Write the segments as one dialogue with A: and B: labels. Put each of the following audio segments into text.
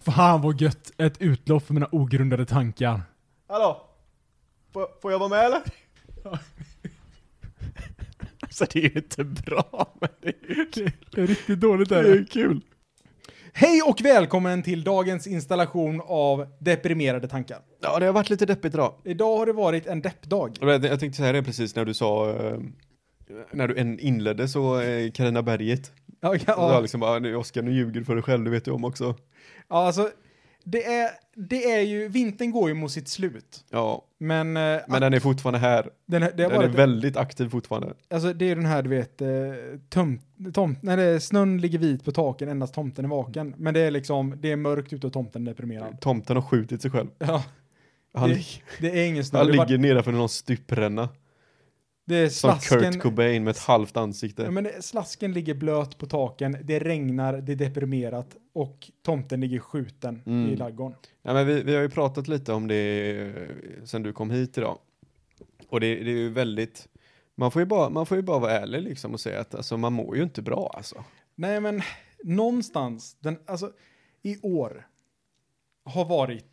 A: Fan vad gött! Ett utlopp för mina ogrundade tankar.
B: Hallå? Får, får jag vara med eller?
C: Alltså det är ju inte bra, men det är ju kul.
A: Det är riktigt dåligt
C: Det är ju kul.
A: Hej och välkommen till dagens installation av Deprimerade tankar.
C: Ja, det har varit lite deppigt idag.
A: Idag har det varit en deppdag.
C: Jag jag tänkte säga det precis när du sa, eh, när du än inledde så eh, Carina Berget.
A: Ja,
C: Ja.
A: ja,
C: liksom, ah, nu, Oskar nu ljuger du för dig själv, det vet du om också.
A: ja alltså, det är, det är ju, vintern går ju mot sitt slut.
C: Ja,
A: Men, eh,
C: men den är fortfarande här.
A: den, här- det har
C: Den är
A: varit,
C: väldigt aktiv fortfarande.
A: alltså det är ju den här du vet, eh, tömt, tomt, när det är, snön ligger vit på taken, endast tomten är vaken. Men det är liksom, det är mörkt ute och tomten är deprimerad.
C: Tomten har skjutit sig själv.
A: Ja,
C: Han,
A: Det-
C: lig-
A: det är ingen snö.
C: han
A: det, är bara-
C: ligger nedanför någon stupränna.
A: det är
C: Som Kurt
A: slasken-
C: Cobain med ett halvt ansikte.
A: Ja, men det- slasken ligger blöt på taken, det regnar, det är deprimerat och tomten ligger skjuten
C: Mm.
A: i ladugården.
C: Ja, men vi, vi har ju pratat lite om det eh, sen du kom hit idag. Och det, det är ju väldigt, man får ju, bara, man får ju bara vara ärlig liksom och säga att alltså, man mår ju inte bra alltså.
A: Nej, men någonstans, den, alltså i år har varit,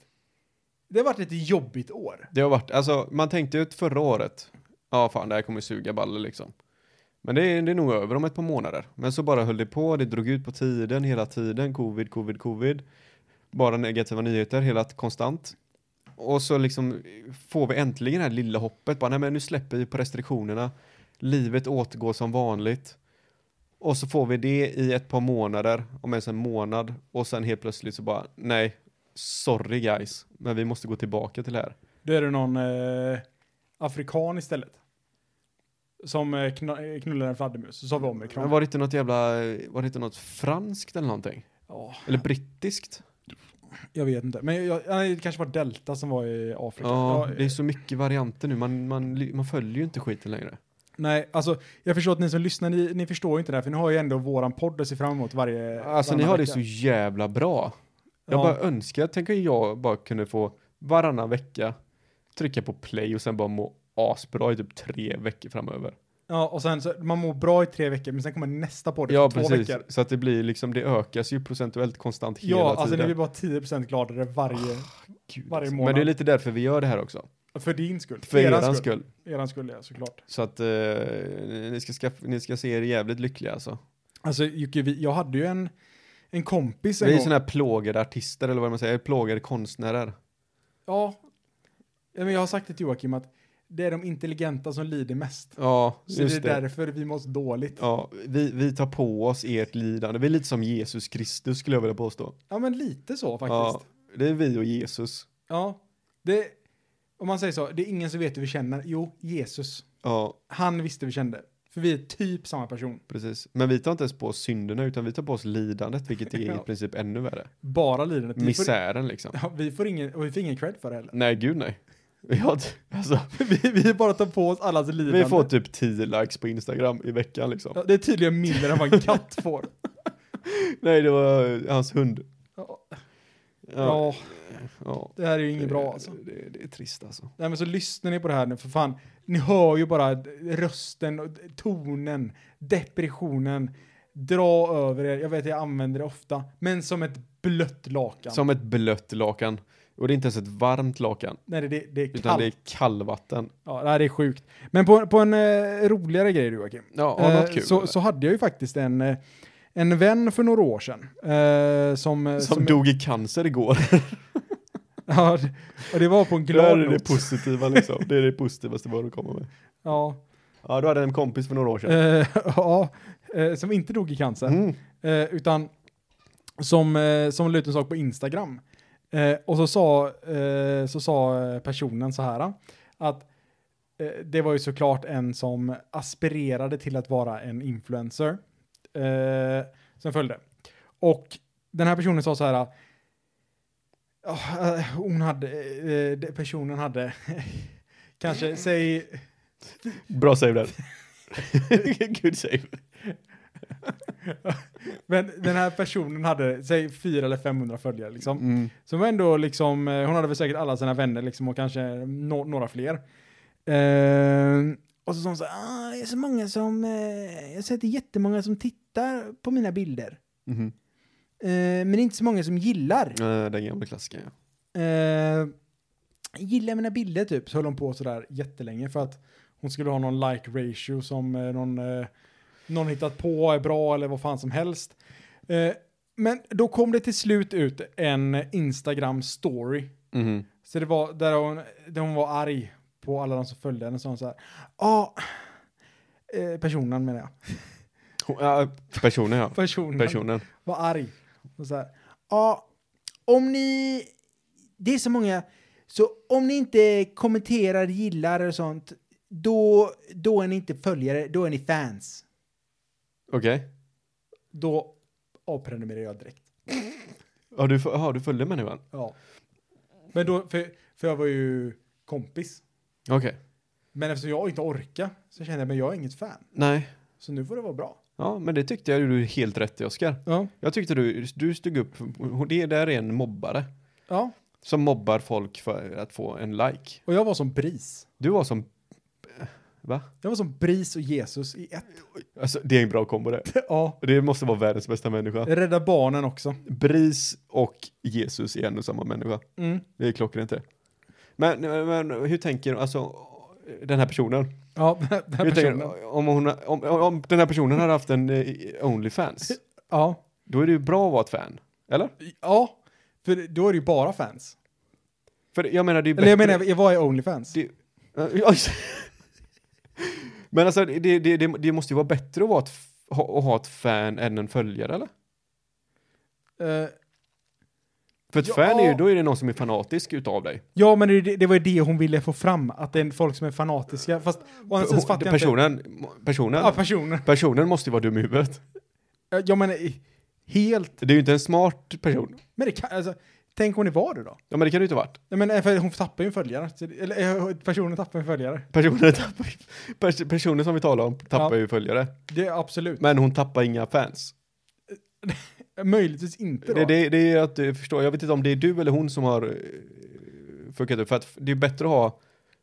A: det har varit ett jobbigt år.
C: Det har varit, alltså man tänkte ju att förra året, ja fan det här kommer suga baller liksom. Men det är, det är nog över om ett par månader. Men så bara höll det på, det drog ut på tiden hela tiden, covid, covid, covid. Bara negativa nyheter hela t- konstant. Och så liksom får vi äntligen det här lilla hoppet, bara nej men nu släpper vi på restriktionerna, livet återgår som vanligt. Och så får vi det i ett par månader, om ens en månad, och sen helt plötsligt så bara nej, sorry guys, men vi måste gå tillbaka till det här.
A: Då är det någon eh, afrikan istället. Som eh, kna- eh, knullar en fladdermus, så sa vi
C: Men
A: omikron.
C: var det inte något jävla, var det inte något franskt eller någonting?
A: Ja,
C: Eller brittiskt?
A: jag vet inte, men jag, jag, det kanske var delta som var i Afrika.
C: Ja,
A: Jag-
C: det är så mycket varianter nu, man, man, man följer ju inte skiten längre.
A: Nej, alltså jag förstår att ni som lyssnar, ni, ni förstår ju inte det här, för ni har ju ändå våran podd att se fram emot varje
C: Alltså ni
A: varannan
C: har det
A: vecka.
C: så jävla bra. Jag
A: Eh, Ja.
C: bara önskar, tänk om jag bara kunde få varannan vecka trycka på play och sen bara må asbra i typ tre veckor framöver.
A: Ja, och sen så, man mår bra i tre veckor, men sen kommer nästa podd
C: Ja,
A: för två
C: precis.
A: veckor.
C: Så att det blir liksom, det ökas ju procentuellt konstant hela
A: Ja, alltså ni
C: tiden.
A: blir bara 10% gladare varje,
C: Gud,
A: varje
C: alltså. Men
A: månad.
C: det är lite därför vi gör det här också.
A: för din skull.
C: För eran skull.
A: Eran skull, ja, såklart.
C: Så att eh, ni, ska skaff- ni ska se er jävligt lyckliga alltså.
A: Alltså Jocke, vi, jag hade ju en, en kompis en
C: Vi är
A: gång.
C: sådana här plågade artister eller vad man säger, plågade konstnärer.
A: Ja. Ja, men jag har sagt det till Joakim att det är de intelligenta som lider mest.
C: Ja,
A: Så
C: just
A: det är
C: det.
A: därför vi mår så dåligt. Ja.
C: Ja, vi, vi tar på oss ert lidande. Vi är lite som Jesus Kristus skulle jag vilja påstå.
A: men lite så faktiskt.
C: Ja, det är vi och Jesus.
A: Ja, det... Om man säger så, det är ingen som vet hur vi känner. Jo, Jesus.
C: Ja,
A: Han visste hur vi kände. För vi är typ samma person.
C: precis. Men vi tar inte ens på oss synderna utan vi tar på oss lidandet, vilket är i
A: Ja.
C: princip ännu värre.
A: Bara lidandet. Vi får,
C: Misären liksom.
A: ja, vi får ingen, och vi får ingen cred för det heller.
C: Nej, gud nej. Ja, alltså,
A: vi, vi bara tar på oss allas lidande.
C: vi får typ 10 likes på Instagram i veckan liksom.
A: ja, det är tydligen mindre än vad en katt får.
C: Nej, det var eh, hans hund.
A: Ja,
C: Ja,
A: ja,
C: ja.
A: det här är ju inget
C: Eh,
A: bra alltså.
C: Det, det är trist alltså.
A: Nej men så lyssnar ni på det här nu för fan. Ni hör ju bara d- rösten, och d- tonen, depressionen. Dra över er. Jag vet jag använder det ofta. Men som ett blött lakan.
C: Som ett blött lakan. Och det är inte ens ett varmt lakan,
A: Nej det, det, det är
C: utan
A: kallt.
C: det är kallvatten.
A: Ja, det här är sjukt. Men på, på en eh, roligare grej du, Joakim.
C: Ja, har något
A: Eh,
C: kul.
A: så,
C: eller?
A: så hade jag ju faktiskt en, eh, en vän för några år sedan. Eh, som, eh,
C: som, dog i cancer igår.
A: Ja, det- och det var på en
C: Det här
A: glad
C: är det
A: not.
C: positiva liksom. Det är det positivaste vad du kommer med.
A: Ja,
C: Ja, du hade en kompis för några år sedan.
A: eh, ja eh, som inte dog i cancer.
C: Mm.
A: Eh, utan som, eh, som la ut en sak på Instagram. Eh, och så sa, eh, så sa eh, personen så här. Att eh, det var ju såklart en som aspirerade till att vara en influencer. Eh, som följde. Och den här personen sa så här. "Ah, eh, hon hade, eh, de- personen hade, kanske, säg,
C: Bra save där. Good save.
A: men den här personen hade, säg 400 eller 500 följare liksom.
C: Mm.
A: Så hon var ändå liksom, eh, hon hade väl säkert alla sina vänner liksom och kanske nå- några fler. Eh, och så sa hon så här, ah, det är så många som, eh, jag har sett jättemånga som tittar på mina bilder.
C: Mhm.
A: eh, men det är inte så många som gillar.
C: Eh, Den gamla klassikern, ja.
A: Eh, gillar mina bilder typ, så höll hon på sådär jättelänge för att hon skulle ha någon like ratio som eh, någon, eh, någon hittat på är bra eller vad fan som helst. Eh, men då kom det till slut ut en Instagram story.
C: Mhm.
A: Så det var där hon, där hon var arg på alla de som följde henne, så hon så här, ja, eh, personen menar jag,
C: Hon- ja, personen, ja.
A: personen
C: Personen.
A: var arg. Och så här, ja, om ni, det är så många, så om ni inte kommenterar, gillar och sånt, då, då är ni inte följare, då är ni fans.
C: Okej.
A: Då avprenumererar jag direkt.
C: Ja, du, fö- ja, du följde människan?
A: Ja. Men då, för, för jag var ju kompis.
C: Okej.
A: Men eftersom jag inte orkar så kände jag, men jag är inget fan.
C: Nej.
A: Så nu får det vara bra.
C: Ja, men det tyckte jag du är helt rätt i, Oskar.
A: Ja.
C: Jag tyckte du, du stod upp, och det där är en mobbare.
A: Ja,
C: Som mobbar folk för att få en like.
A: och jag var som Bris.
C: Du var som... eh, Va?
A: Jag var som Bris och Jesus i ett.
C: Alltså, det är en bra kombo det.
A: Ja,
C: Det måste vara världens bästa människa.
A: rädda barnen också.
C: Bris och Jesus är en och samma människa.
A: Mm.
C: Det är klockrent det. Men, men hur tänker alltså den här personen?
A: Ja, den här
C: Hur tänker-
A: personen.
C: om, hon, om, om den här personen hade haft en eh, Onlyfans,
A: Ja.
C: då är det ju bra att vara ett fan. Eller?
A: ja, för då är det ju bara fans.
C: För jag menar, det är ju
A: Eller jag
C: bättre-
A: menar, vad är Onlyfans?
C: Det, Eh, oj. men alltså, det, det, det, det måste ju vara bättre att, vara ett, f- ha, att ha ett fan än en följare, eller?
A: Eh,
C: För ett
A: Ja.
C: fan är ju, då är det någon som är fanatisk utav dig.
A: ja, men det, det var ju det hon ville få fram, att det är folk som är fanatiska. Fast å andra sidan
C: Hon-
A: fattar jag inte.
C: personen, personen,
A: Ja, personen.
C: personen måste ju vara dum i huvudet.
A: Eh, Jag menar, i- helt.
C: Det är ju inte en smart person.
A: Men det kan, alltså, tänk om det var det då?
C: Ja, men det kan det ju inte ha varit.
A: Nej, men eh, för hon tappar ju en följare. Så det- Eller eh, personen tappar en följare.
C: Personen, tappar, pers, personen som vi talar om tappar
A: Ja.
C: ju följare.
A: Det är absolut.
C: Men hon tappar inga fans.
A: Möjligtvis inte då.
C: Det, det, det är att eh, förstå, jag vet inte om det är du eller hon som har eh, fuckat upp. För att det är bättre att ha,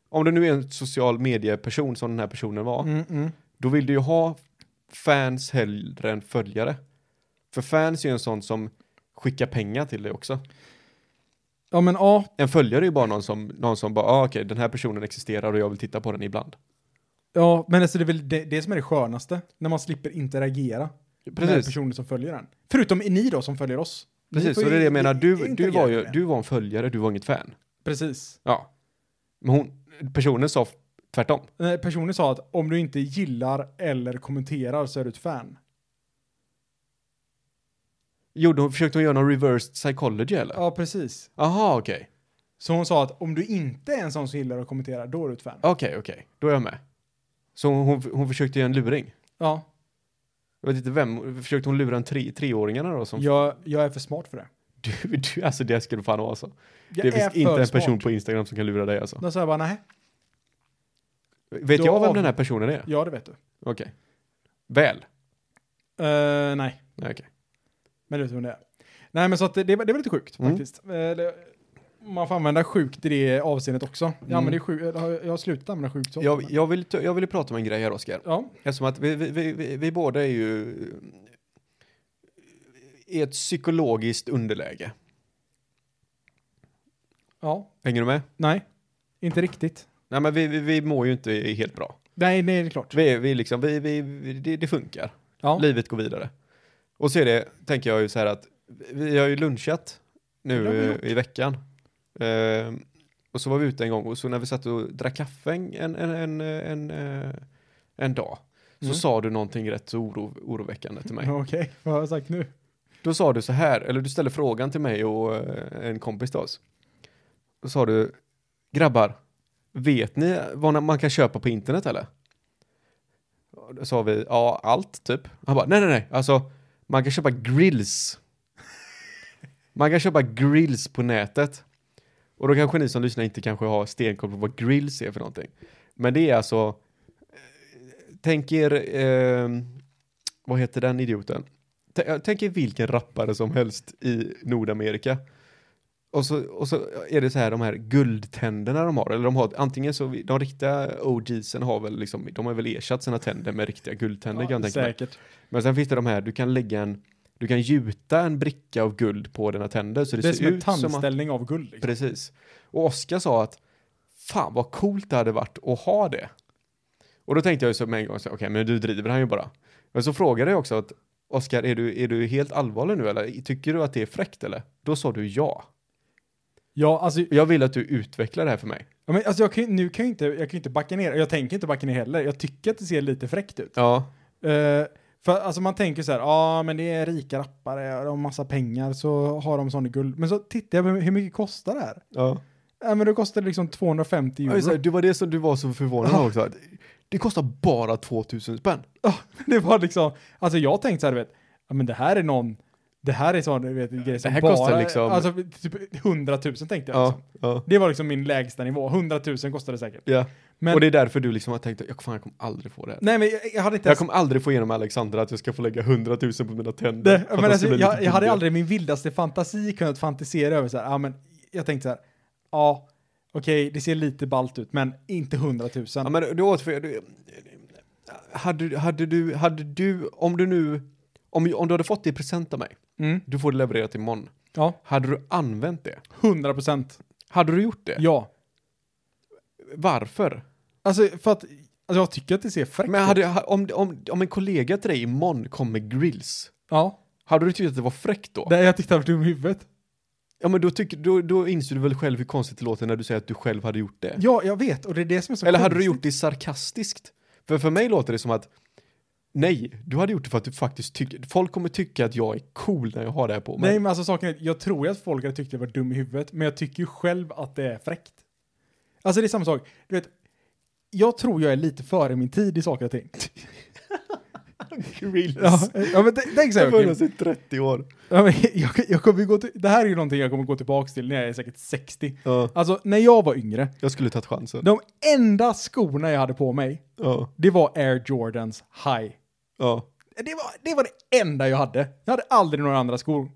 C: om du nu är en social medieperson som den här personen var,
A: Mm, mm.
C: då vill du ju ha fans hellre än följare. För fans är ju en sån som skickar pengar till dig också.
A: Ja, men ja,
C: En följare är ju bara någon som, någon som bara, ah, okej, den här personen existerar och jag vill titta på den ibland.
A: Ja, men alltså det är väl det, det som är det skönaste. När man slipper interagera med
C: Precis,
A: personer som följer en. Förutom ni då som följer oss. Ni
C: precis.
A: får
C: Och det är det jag menar,
A: i-
C: du, du
A: interagera
C: var
A: med
C: ju,
A: det.
C: du var en följare, du var inget fan.
A: Precis.
C: Ja. Men hon, personen sa f- tvärtom.
A: Nej, Eh, Personen sa att om du inte gillar eller kommenterar så är du ett fan.
C: Gjorde hon, försökte hon göra någon reversed psychology eller?
A: Ja, precis.
C: Aha, okej.
A: Så hon sa att om du inte är en sån som gillar och kommenterar, då är du ett fan.
C: Okej, okej. Då är jag med. Så hon, hon, hon försökte göra en luring.
A: Ja,
C: Jag vet inte vem, försökte hon lura en tre, treåringarna då? Som,
A: jag, jag är för smart för det.
C: du, du, alltså det skulle fan vara så.
A: Jag
C: det är, visst inte
A: för
C: en person
A: smart.
C: på Instagram som kan lura dig alltså.
A: Då sa jag bara, nej,
C: Vet
A: Då
C: jag vem
A: av-
C: den här personen är?
A: ja det vet du.
C: Okej. Väl?
A: Eh, nej,
C: Nej, okej.
A: men du vet vem det är. Nej, men så att det, det, var- det var lite sjukt
C: Mm.
A: faktiskt. Eh, det- man får använda sjukt i det avseendet också. Ja,
C: Mm.
A: men det är sjukt. Jag har- jag har slutat använda sjukt så.
C: Jag, jag, vill, jag vill prata om en grej här, Oskar.
A: Ja,
C: Eftersom att vi, vi, vi, vi, vi båda är ju i ett psykologiskt underläge.
A: ja,
C: Hänger du med?
A: nej, inte riktigt.
C: Nej, men vi, vi, vi mår ju inte helt bra.
A: Nej, nej, det är klart.
C: Vi, är- vi är liksom, vi, vi, vi, det, det funkar.
A: Ja,
C: Livet går vidare. Och så är det, tänker jag ju så här att vi har ju lunchat
A: Det har vi
C: nu
A: gjort.
C: eh, i veckan. Ehm, och så var vi ute en gång och så när vi satt och drack kaffe en, en, en, en, en, eh, en dag så
A: Mm.
C: sa du någonting rätt så oro, oroväckande till mig.
A: okej, vad har jag sagt nu?
C: Då sa du så här, eller du ställde frågan till mig och eh, en kompis till oss. Då sa du, grabbar, vet ni vad man kan köpa på internet eller? Och Då sa vi, ja allt typ. Han bara, nej nej nej, alltså man kan köpa grills. Man kan köpa grills på nätet. Och då kanske ni som lyssnar inte kanske har stenkoll på vad grills är för någonting. Men det är alltså, eh, tänk er, eh, vad heter den idioten? T- jag tänker vilken rappare som helst i Nordamerika. Och så, och så är det så här de här guldtänderna de har, eller de har antingen så, de riktiga OG'sen har väl liksom, de har väl ersatt sina tänder med riktiga guldtänder kan jag tänka mig.
A: säkert.
C: Men sen finns det de här, du kan lägga en Du kan gjuta en bricka av guld på dina tänder så det,
A: Det är
C: ser
A: som en
C: ut som att...
A: tandställning av guld. Liksom.
C: Precis. Och Oskar sa att fan vad coolt det hade varit att ha det. Och då tänkte jag ju så med en gång, så, okej men du driver han ju bara. Men så frågade jag också att Oskar, är du, är du helt allvarlig nu eller tycker du att det är fräckt eller? Då sa du ja.
A: Ja, alltså,
C: Jag vill att du utvecklar det här för mig.
A: ja, men, alltså jag kan, ju- nu kan jag, inte, jag kan ju inte backa ner. Jag tänker inte backa ner heller. Jag tycker att det ser lite fräckt ut.
C: Ja.
A: Eh, för alltså man tänker så här, ja ah, men det är rika rappare och de har massa pengar så har de sån i guld. Men så tittar jag på hur mycket kostar det här?
C: ja.
A: Ja men det kostar liksom 250
C: Jag är så här,
A: euro.
C: det var det som du var så förvånad
A: Ja.
C: av också. att Det kostar bara 2000 spänn.
A: Det var liksom, alltså jag tänkte så här, du vet, ja men det här är någon, det här är sån, du vet, grej som
C: Det här
A: bara,
C: kostar liksom-
A: alltså typ 100 000 tänkte jag. Liksom.
C: ja.
A: Det var liksom min lägsta nivå, 100 000 kostade det säkert.
C: ja.
A: Men,
C: Och det är därför du liksom har tänkt att jag, fan, jag kommer aldrig få det här.
A: nej men jag, jag hade inte
C: Jag
A: ens
C: kommer aldrig få igenom Alexandra att jag ska få lägga 100 000 på mina tänder.
A: Det,
C: för att
A: men
C: de
A: alltså,
C: ska bli lite
A: jag, jag hade
C: billiga.
A: aldrig i min vildaste fantasi kunnat fantisera över så här, ja men jag tänkte så här, ja, okej, det ser lite balt ut, men inte hundratusen.
C: Ja, men du återför... Du, hade, hade, du, hade du, om du nu, om, om du hade fått det i present av mig,
A: Mm,
C: du får det levererat imorgon,
A: ja,
C: hade du använt det?
A: hundra procent.
C: Hade du gjort det?
A: Ja.
C: Varför?
A: Alltså, för att, alltså jag tycker att det ser fräckt
C: Men
A: ut.
C: hade, ha- om, om, om en kollega till dig imorgon kom med grills,
A: Ja,
C: hade du tyckt att det var fräckt då?
A: det, jag tyckte han var dum i huvudet.
C: Ja men då, tycker, då, då inser du väl själv hur konstigt det låter när du säger att du själv hade gjort det?
A: Ja, jag vet, och det är det som är så
C: Eller hade du
A: konstigt.
C: gjort det sarkastiskt? För för mig låter det som att nej, du hade gjort det för att du faktiskt tycker, folk kommer tycka att jag är cool när jag har det här på mig.
A: Nej, men alltså saken är, jag tror ju att folk hade tyckt jag var dum i huvudet, men jag tycker ju själv att det är fräckt. Alltså det är samma sak, du vet, jag tror jag är lite före min tid i saker och ting.
C: Grills.
A: Ja, ja men t- tänk så här, Kim.
C: i 30 år.
A: Ja, men jag, jag kommer ju gå till, det här är ju någonting jag kommer gå tillbaka till när jag är säkert 60.
C: Ja,
A: Alltså, när jag var yngre,
C: jag skulle tagit chansen.
A: de enda skorna jag hade på mig,
C: Ja,
A: det var Air Jordans High.
C: ja.
A: Det var, det var det enda jag hade. Jag hade aldrig några andra skor.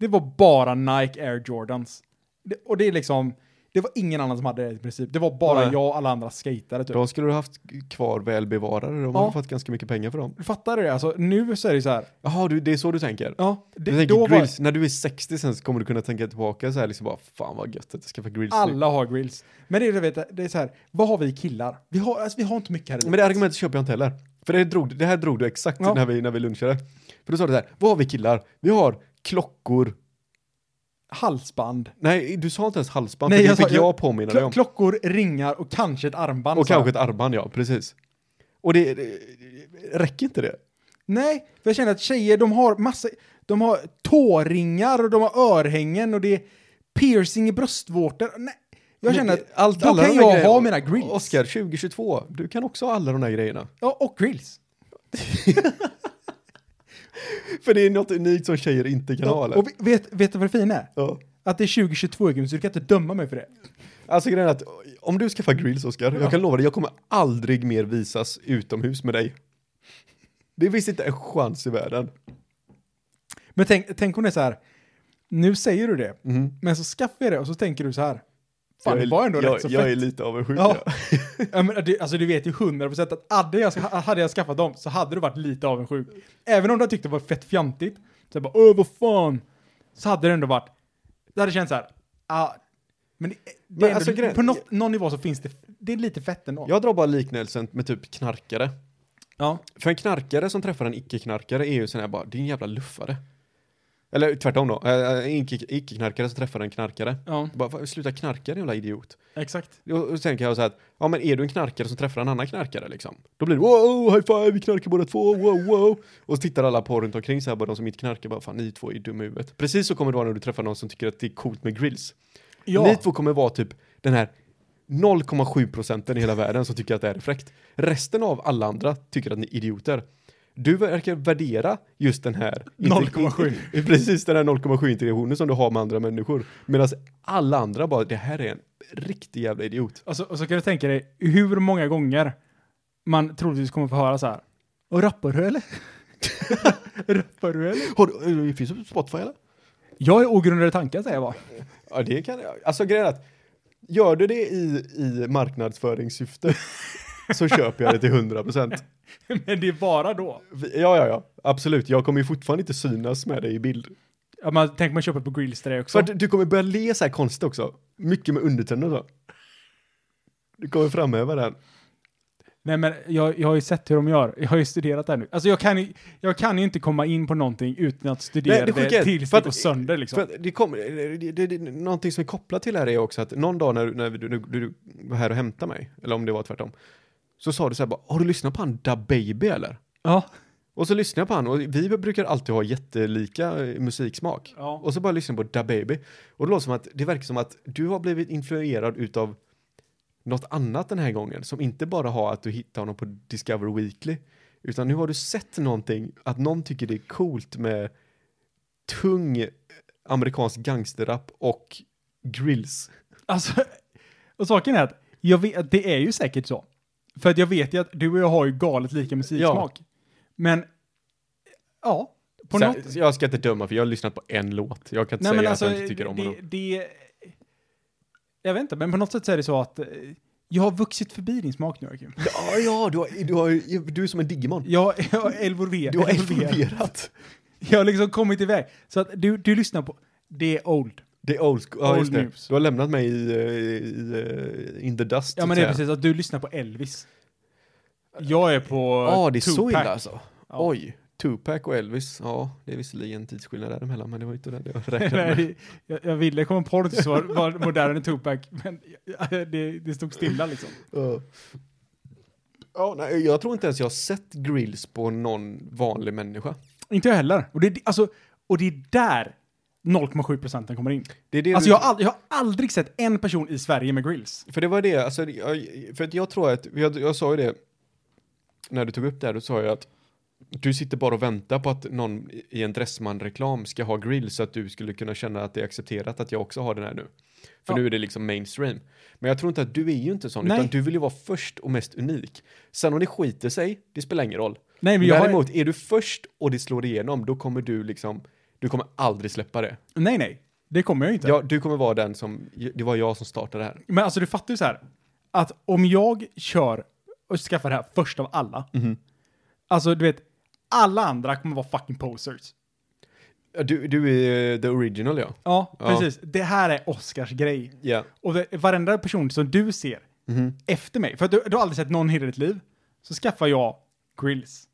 A: Det var bara Nike Air Jordans. Det, och det är liksom, det var ingen annan som hade det i princip. Det var bara
C: Nej.
A: jag och alla andra skatare typ.
C: De skulle du haft kvar välbevarade, de
A: Ja.
C: har fått ganska mycket pengar för dem.
A: Fattar du det? Alltså, nu så är det så här.
C: Jaha, du, det är så du tänker?
A: Ja,
C: Du
A: det, då
C: tänker
A: var,
C: grills, när du är 60 sen så kommer du kunna tänka tillbaka så här liksom bara fan vad gött att jag skaffade grills. nu."
A: alla har grills. Men det är, du vet, det är så här, vad har vi killar? Vi har, alltså, vi har inte mycket här i
C: Men det argumentet köper jag inte heller. För det, drog, det här drog du exakt
A: Ja.
C: när, vi, när vi lunchade. För då sa du så här, vad har vi killar? Vi har klockor.
A: halsband.
C: Nej, du sa inte ens halsband,
A: Nej,
C: för det
A: jag sa-
C: fick jag,
A: jag-
C: påminna dig
A: Klo-
C: om.
A: klockor, ringar och kanske ett armband.
C: Och
A: sa
C: kanske
A: jag.
C: ett armband, ja, precis. Och det, det räcker inte det?
A: Nej, för jag känner att tjejer, de har massa... De har tåringar och de har örhängen och det är piercing i bröstvårtor. Nej, jag känner att
C: allt,
A: då
C: alla
A: kan
C: de här
A: jag
C: grejerna-
A: ha mina grills.
C: Oscar 2022, du kan också ha alla de där grejerna.
A: Ja, och grills.
C: För det är något unikt som tjejer inte kan ha,
A: Ja,
C: eller?
A: och vi- vet, vet du vad det fina är?
C: ja.
A: Att det är 2022 Jim, så du kan inte döma mig för det.
C: Alltså grejen är att om du skaffar grills, Oscar, jag kan lova dig, jag kommer aldrig mer visas utomhus med dig. Det finns inte en chans i världen.
A: Men tänk, tänk om det är så här, nu säger du det, men så skaffar jag det och så tänker du så här, fan
C: Mhm. jag
A: det
C: är-
A: var ändå
C: jag,
A: rätt så
C: jag
A: fett.
C: är lite avundsjuk.
A: Ja.
C: Ja.
A: Ja, men det, alltså du vet ju 100% att hade jag, hade jag skaffat dem så hade du varit lite avundsjuk. Även om du tyckte det var fett fjantigt, så jag bara öh vad fan. Så hade det ändå varit, det hade känts så här, ah, men, det, det är ändå,
C: alltså, grejen-
A: på nå- någon nivå så finns det, det är lite fett ändå.
C: Jag drar bara liknelsen med typ knarkare.
A: Ja.
C: För en knarkare som träffar en icke-knarkare är ju sån här bara, det är en jävla luffare. Eller tvärtom då, eh, en icke- icke-knarkare som träffar en knarkare.
A: Ja,
C: Bara, "Fan, sluta knarka din jävla idiot.
A: exakt.
C: Och och sen kan jag säga att, ja men är du en knarkare som träffar en annan knarkare liksom? Då blir det wow, high five, vi knarkar båda två, wow, wow. Och så tittar alla på runt omkring så här, bara de som inte knarkar, bara fan ni två är dumma i huvudet. Precis så kommer det vara när du träffar någon som tycker att det är coolt med grills.
A: Ja,
C: Ni två kommer vara typ den här 0,7 procenten i hela världen som tycker att det här är fräckt. Resten av alla andra tycker att ni är idioter. Du verkar värdera just den här
A: 0,7.
C: precis den här 0,7 integrationen som du har med andra människor. Medan alla andra bara, det här är en riktig jävla idiot.
A: Alltså, och så, och så kan du tänka dig hur många gånger man troligtvis kommer få höra så här, och rappar du eller? rappar du eller?
C: Har du, finns det på Spotify eller?
A: Jag är ogrundade tankar säger jag bara.
C: Ja, det kan jag. Alltså grejen är att, gör du det i, i marknadsföringssyfte så köper jag det till 100%.
A: Men det är bara då.
C: Ja, ja, ja. Absolut. Jag kommer ju fortfarande inte synas med dig i bild.
A: Ja, man, tänk man köper på Grillstray också.
C: För att du kommer börja le så här konstigt också. Mycket med undertänder så. Du kommer framhäva den.
A: Nej men jag, jag har ju sett hur de gör. Jag har ju studerat det här nu. Alltså jag kan, ju- jag kan ju inte komma in på någonting utan att studera
C: Nej, det
A: det,
C: sjuka är-
A: tills
C: för
A: det
C: att-
A: går sönder liksom.
C: För att det kommer, det, det, det, någonting som är kopplat till det här är också att någon dag när, du- när du, du, du var här och hämtade mig, eller om det var tvärtom, så sa du så här bara, har du lyssnat på han Da Baby eller?
A: ja.
C: Och så lyssnade jag på han och vi brukar alltid ha jättelika eh, musiksmak.
A: Ja.
C: Och så bara lyssnade jag på Da Baby. Och det låter som att, det verkar som att du har blivit influerad utav något annat den här gången som inte bara har att du hittar honom på Discover Weekly. Utan nu har du sett någonting, att någon tycker det är coolt med tung eh, amerikansk gangsterrap och grills.
A: Alltså, och saken är att jag vet, det är ju säkert så. För att jag vet ju att du och jag har ju galet lika musiksmak. Men, ja. På
C: så
A: något...
C: här, Jag ska inte döma för jag har lyssnat på en låt. Jag kan inte
A: Nej men
C: säga
A: alltså,
C: att jag inte tycker om
A: det,
C: honom.
A: det... Jag vet inte, men på något sätt så är det så att eh, jag har vuxit förbi din smak nu, Joakim.
C: Ja, ja, du, har, du, har, du är som en Digimon.
A: Jag, jag har elvolver-
C: Du har
A: elvolverat.
C: involverat.
A: Jag har liksom kommit iväg. Så att du, du lyssnar på, det är old.
C: Det är old school. Ja,
A: Old
C: just det.
A: news.
C: Du har lämnat mig i, eh, i eh, in the dust.
A: Ja
C: så
A: men
C: att
A: det är
C: säga.
A: precis, att du lyssnar på Elvis. Jag är på eh,
C: Ja, det är så illa
A: Tupac.
C: alltså.
A: Ja.
C: Oj, Tupac och Elvis. Ja, det är visserligen tidsskillnad däremellan, men det var inte det jag räknade med.
A: Nej, jag, jag ville komma på det så var modern än Tupac, men det, det stod stilla liksom.
C: Ja. Ja, nej, jag tror inte ens jag har sett grills på någon vanlig människa.
A: Inte jag heller. Och det, är- alltså, och det är där 0,7 procenten kommer in.
C: Det är det
A: Alltså
C: du-
A: jag har, aldrig, jag har aldrig sett en person i Sverige med grills.
C: För det var det, alltså, jag, för att jag tror att, jag, jag sa ju det, när du tog upp det här, då sa jag att du sitter bara och väntar på att någon i- i en Dressman-reklam ska ha grill så att du skulle kunna känna att det är accepterat att jag också har den här nu. För
A: Ja.
C: nu är det liksom mainstream. Men jag tror inte att du är ju inte sån,
A: Nej.
C: utan du vill ju vara först och mest unik. Sen om det skiter sig, det spelar ingen roll.
A: Nej men jag har,
C: Däremot, är du först och det slår igenom, då kommer du liksom, du kommer aldrig släppa det.
A: nej nej, det kommer jag inte.
C: Ja, du kommer vara den som, det var jag som startade det här.
A: Men alltså du fattar ju så här, att om jag kör och skaffar det här först av alla,
C: Mhm.
A: alltså du vet, alla andra kommer vara fucking posers.
C: Ja, Du, du är eh, the original ja.
A: Ja,
C: Ja.
A: precis. Det här är Oscars grej.
C: Ja. Mhm.
A: Och det- varenda person som du ser efter mig, för att du, du har aldrig sett någon i hela ditt liv, så skaffar jag grills.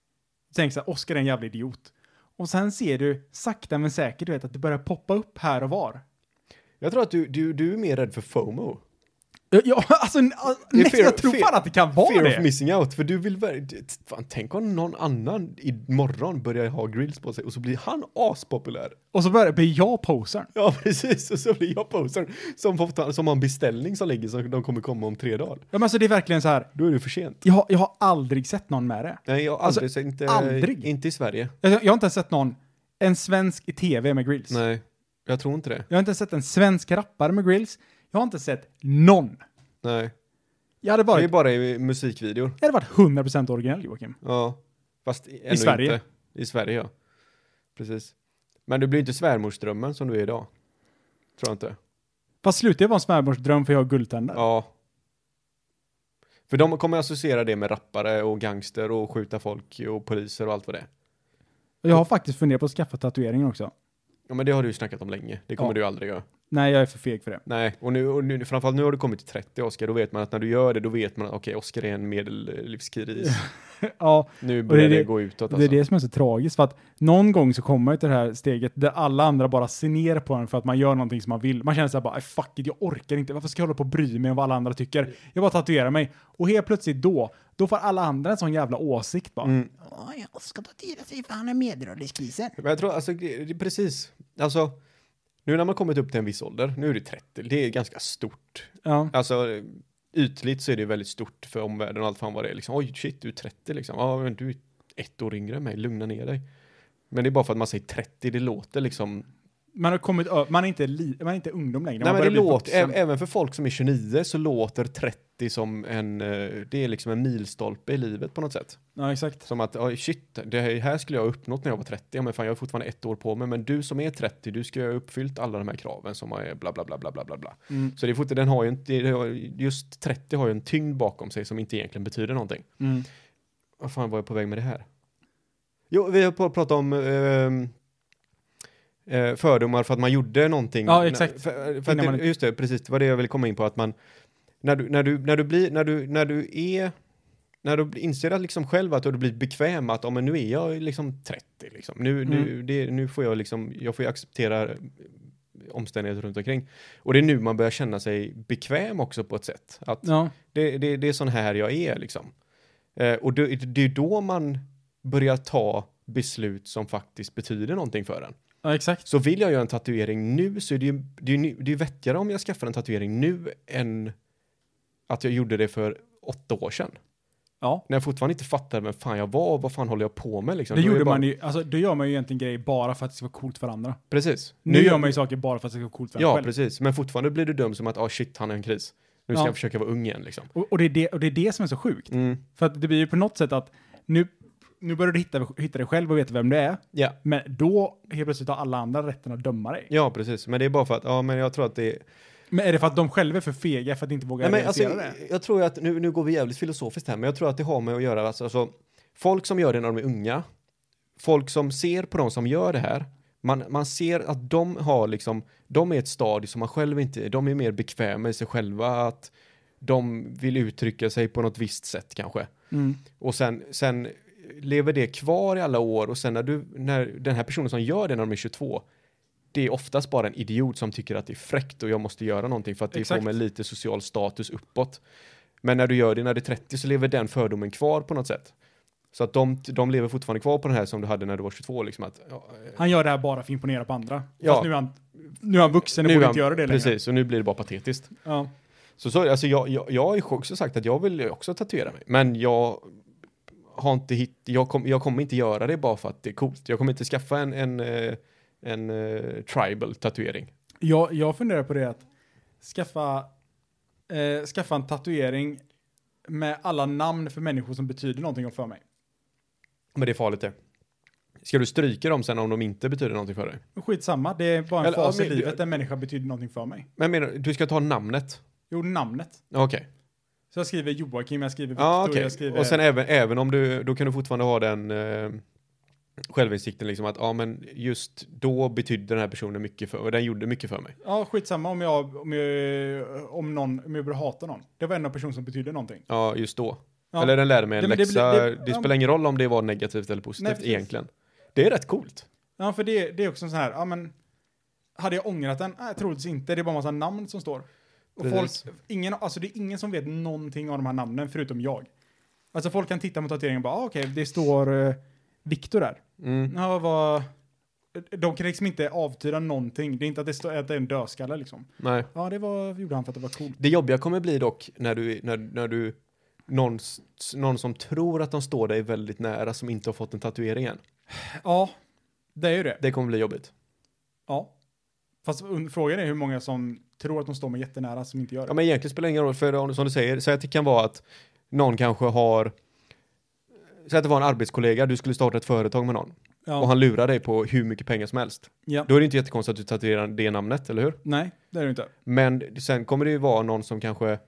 A: Tänk så här, Oscar är en jävla idiot. Och sen ser du sakta men säkert, du vet, att det börjar poppa upp här och var.
C: Jag tror att du, du, du är mer rädd för FOMO.
A: Ja, alltså, n-
C: är
A: nästan,
C: fear-
A: jag tror
C: fear-
A: fan att det kan vara
C: Fear
A: det.
C: of missing out, för du vill ver- d- t- Fan, tänk om någon annan imorgon börjar ha grills på sig och så blir han aspopulär.
A: Och så börjar, blir jag posern.
C: Ja, precis. Och så blir jag posern som, får ta- som har en beställning som ligger som de kommer komma om tre dagar.
A: Ja, men alltså det är verkligen så här,
C: Då är det för sent.
A: jag, har- jag har aldrig sett någon med det.
C: Nej, jag har
A: Alltså,
C: aldrig, sett- inte,
A: aldrig.
C: inte i Sverige.
A: Jag, jag har inte ens sett någon, en svensk i tv med grills.
C: Nej, jag tror inte det.
A: Jag har inte ens sett en svensk rappare med grills. Jag har inte sett någon.
C: Nej,
A: Jag hade
C: det
A: varit
C: är bara i musikvideor.
A: Det hade varit 100% originell Joakim.
C: Ja, fast ännu
A: Sverige.
C: Inte. I Sverige, ja. Precis. Men du blir inte svärmorsdrömmen som du är idag. Tror jag inte.
A: Fast slutar jag vara en svärmorsdröm för jag har guldtänder?
C: Ja. För de kommer associera det med rappare och gangster och skjuta folk och poliser och allt vad det är.
A: Och Jag har faktiskt funderat på att skaffa tatueringen också.
C: Ja, men det har du ju snackat om länge. Det kommer
A: Ja.
C: du ju aldrig göra.
A: Nej, jag är för feg för det.
C: Nej, och nu, och nu framförallt nu har du kommit till 30 Oscar. Då vet man att när du gör det, då vet man att okej, Oscar är en medellivskris.
A: Ja,
C: Nu börjar
A: det är
C: det,
A: det-
C: gå utåt
A: det är
C: alltså.
A: det som är så tragiskt. För att någon gång så kommer jag till det här steget där alla andra bara ser ner på en för att man gör någonting som man vill. Man känner så här bara, "Ay, fuck it, jag orkar inte. Varför ska jag hålla på och bry mig om vad alla andra tycker? Jag bara tatuerar mig. Och helt plötsligt då, då får alla andra en sån jävla åsikt bara.
C: Mm.
D: Ja, jag ska tatuera sig för han är medelålderskrisen.
C: Men jag tror, alltså, det, det, precis. Alltså, nu när man kommit upp till en viss ålder, nu är det 30, det är ganska stort.
A: Ja.
C: Alltså, ytligt så är det väldigt stort för omvärlden och allt fan vad det är. Liksom, Oj, shit, du är 30 liksom. Ja, men du är ett år yngre än mig, lugna ner dig. Men det är bara för att man säger 30, det låter liksom
A: Man har kommit ö- man är inte, li, man är inte ungdom längre.
C: Nej,
A: man
C: men det
A: börjar bli
C: låter,
A: vuxen.
C: ä- även för folk som är 29 så låter 30 som en, eh, det är liksom en milstolpe i livet på något sätt.
A: Ja, exakt.
C: Som att, oj shit, det här- här skulle jag ha uppnått när jag var 30, ja, men fan jag har fortfarande ett år på mig, men du som är 30, du ska ju ha uppfyllt alla de här kraven som är bla bla bla bla bla bla. bla.
A: Mm.
C: Så det är fortfarande, den har ju inte, det har- just 30 har ju en tyngd bakom sig som inte egentligen betyder någonting.
A: Mm.
C: Vad fan var jag på väg med det här? Jo, vi har på- pratat om ehm, eh, fördomar för att man gjorde någonting.
A: Ja, exakt.
C: För, för att
A: Innan
C: det,
A: man-
C: just det, precis, det var det jag ville komma in på, att man, när du, när du, när du blir, när du, när du är, när du inser att liksom själv att du har blivit bekväm att, ja men nu är jag liksom 30 liksom. Nu, nu,
A: Mm.
C: det, nu får jag liksom, jag får ju acceptera eh, omständigheter runt omkring. Och det är nu man börjar känna sig bekväm också på ett sätt. Att
A: Ja.
C: det, det, det är sån här jag är liksom. Eh, och det, det är då man börjar ta beslut som faktiskt betyder någonting för en.
A: ja, exakt.
C: Så vill jag göra en tatuering nu så är det ju det är, ju- det är vettigare om jag skaffar en tatuering nu än att jag gjorde det för åtta år sedan.
A: Ja.
C: När jag fortfarande inte fattade vem fan jag var och vad fan håller jag på med liksom.
A: Det
C: Då är
A: gjorde
C: bara,
A: man ju, alltså då gör man ju egentligen grejer bara för att det ska vara coolt för andra.
C: Precis.
A: Nu gör man ju saker bara för att det ska vara coolt för en
C: Ja,
A: själv.
C: precis. Men fortfarande blir du dömd som att, ah shit, han är en kris. Nu ska
A: Ja.
C: jag försöka vara ung igen liksom.
A: Och, och, det är det, och det är det som är så sjukt.
C: Mm.
A: För att det blir ju på något sätt att nu, nu börjar du hitta, hitta dig själv och veta vem du är.
C: Ja.
A: Men då helt plötsligt har alla andra rätten att döma dig.
C: Ja, precis. Men det är bara för att, ja men jag tror att det är
A: Men är det för att de själva är för fega för att inte våga
C: Nej, men alltså,
A: realisera
C: jag,
A: det?
C: jag tror ju att, nu, nu går vi jävligt filosofiskt här, men jag tror att det har med att göra, alltså, alltså, folk som gör det när de är unga, folk som ser på de som gör det här, man, man ser att de har liksom, de är ett stadie som man själv inte är, de är mer bekväma i sig själva, att de vill uttrycka sig på något visst sätt kanske.
A: Mm.
C: Och sen, sen lever det kvar i alla år och sen när du, när den här personen som gör det när de är 22, det är oftast bara en idiot som tycker att det är fräckt och jag måste göra någonting för att det
A: Exakt.
C: får mig lite social status uppåt. Men när du gör det när du är 30 så lever den fördomen kvar på något sätt. Så att de, de lever fortfarande kvar på den här som du hade när du var 22 liksom att ja,
A: Han gör det här bara för att imponera på andra.
C: Ja.
A: Fast nu är han, nu är han vuxen och
C: nu är
A: borde
C: han-
A: inte göra det längre.
C: Precis, och nu blir det bara patetiskt.
A: Ja.
C: Så, så alltså jag, jag, jag har ju också sagt att jag vill ju också tatuera mig, men jag har inte hitt, jag, kom, jag kommer inte göra det bara för att det är coolt. Jag kommer inte skaffa en, en, eh, en eh, tribal tatuering.
A: Jag, jag funderar på det att skaffa, eh, skaffa en tatuering med alla namn för människor som betyder någonting för mig.
C: Men det är farligt det. Ska du stryka dem sen om de inte betyder någonting för dig?
A: Men Skitsamma, det är bara en
C: Eller,
A: fas
C: ja,
A: i
C: men-
A: livet där människa betyder någonting för mig.
C: Men jag menar, du ska ta namnet?
A: Jo, namnet.
C: Okej.
A: Så jag skriver Joakim, jag skriver Viktor,
C: Ja, okej.
A: jag skriver...
C: Och sen även, även om du, då kan du fortfarande ha den eh, självinsikten liksom att ja men just då betydde den här personen mycket för mig, den gjorde mycket för mig.
A: Ja, skitsamma om jag, om jag, om någon, om jag börjar hata någon. Det var en person som betydde någonting.
C: Ja, just då.
A: Ja.
C: Eller den lärde mig
A: Ja,
C: en
A: men det
C: läxa.
A: blir-
C: Det,
A: det- ja.
C: spelar ingen roll om det var negativt eller
A: Nej,
C: positivt
A: precis.
C: egentligen. Det är rätt coolt.
A: Ja, för det, det är också så här, ja men, hade jag ångrat den? Nej, troligtvis inte. Det är bara massa namn som står. Och folk,
C: Precis.
A: ingen, alltså det är ingen som vet någonting av de här namnen förutom jag. Alltså folk kan titta mot tatueringen och bara, ah, okej, det står eh, Viktor där.
C: Mm.
A: Ja, vad... De kan liksom inte avtyda någonting. Det är inte att det, står, att det är en dödskalle liksom.
C: Nej.
A: Ja, det var, gjorde han för att det var coolt.
C: Det jobbiga kommer bli dock när du, när, när du någon, s- någon som tror att de står dig väldigt nära som inte har fått en tatuering än.
A: Ja, det är ju det.
C: Det kommer bli jobbigt.
A: Ja. Fast un- frågan är hur många som tror att de står mig jättenära som inte gör
C: Ja,
A: det.
C: men egentligen spelar det ingen roll, för om- som du säger, säg att det kan vara att någon kanske har, säg att det var en arbetskollega, du skulle starta ett företag med någon och
A: Ja,
C: han lurar dig på hur mycket pengar som helst.
A: ja.
C: Då är det inte jättekonstigt att du tatuerar det namnet, eller hur?
A: Nej, det är det inte.
C: Men sen kommer det ju vara någon som kanske eh,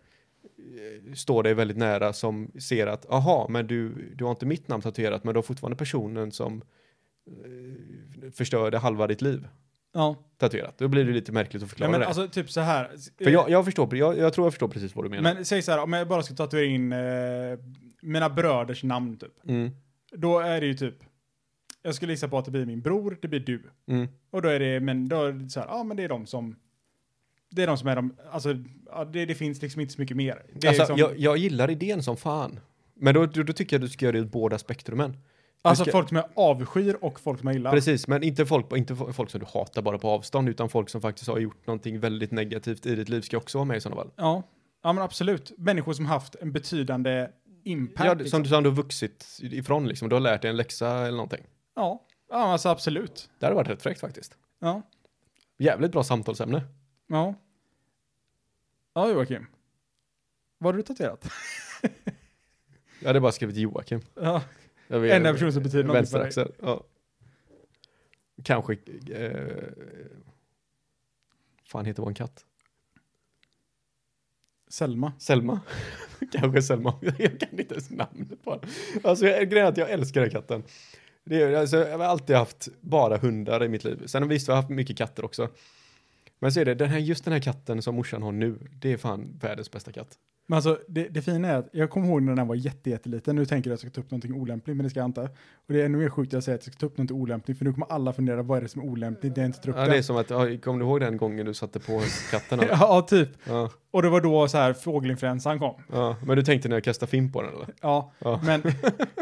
C: står dig väldigt nära som ser att aha, men du, du har inte mitt namn tatuerat men du har fortfarande personen som eh, förstörde halva ditt liv
A: Ja.
C: tatuerat. Då blir det lite märkligt att
A: Nej,
C: förklara
A: men
C: det.
A: alltså typ så här.
C: För jag, jag förstår, jag, jag tror jag förstår precis vad du menar.
A: men säg så här, om jag bara ska tatuera in eh, mina bröders namn typ.
C: mm,
A: Då är det ju typ, jag skulle gissa på att det blir min bror, det blir du.
C: mm,
A: Och då är det, men då är det så här, ja men det är de som, det är de som är de, alltså ja, det, det finns liksom inte så mycket mer. Det är
C: alltså,
A: liksom,
C: jag, jag gillar idén som fan. Men då, då, då tycker jag du ska göra det åt båda spektrumen. Du
A: alltså
C: ska-
A: folk som jag avskyr och folk som jag gillar.
C: Precis, men inte folk, inte fo- folk som du hatar bara på avstånd, utan folk som faktiskt har gjort någonting väldigt negativt i ditt liv ska också vara med i sådana fall.
A: Ja, ja men absolut. Människor som haft en betydande impact. liksom.
C: Ja,
A: Ja,
C: som, som du har vuxit ifrån liksom. Du har lärt dig en läxa eller någonting.
A: ja. ja alltså absolut.
C: Det hade varit rätt fräckt faktiskt.
A: Ja.
C: Jävligt bra samtalsämne.
A: Ja. Ja, Joakim. Vad har du tatuerat?
C: Jag hade bara skrivit Joakim.
A: Ja.
C: Jag
A: En person som betyder någonting för dig.
C: Vänsteraxel, ja. Kanske... Eh, fan heter vår katt?
A: Selma.
C: Selma? Kanske Selma. Jag kan inte ens namnet på den. Alltså jag, grejen är att jag älskar den katten. Det är, alltså, jag har alltid haft bara hundar i mitt liv. Sen visst, jag har haft mycket katter också. Men så är det, den här, just den här katten som morsan har nu, det är fan världens bästa katt.
A: Men alltså det, det fina är att jag kommer ihåg när den var jätte, jätteliten. Nu tänker jag att jag ska ta upp någonting olämpligt, men det ska jag inte. Och det är ännu mer sjukt att jag säger att jag ska ta upp något olämpligt, för nu kommer alla fundera vad är det som är olämpligt när jag inte tar upp
C: Ja,
A: det.
C: det är som att, ja, kommer du ihåg den gången du satte på katten? eller?
A: Ja, typ.
C: Ja,
A: Och det var då så här fågelinfluensan kom.
C: ja. Men du tänkte när jag kastade fimp på den eller?
A: Ja,
C: Ja.
A: Men, ja,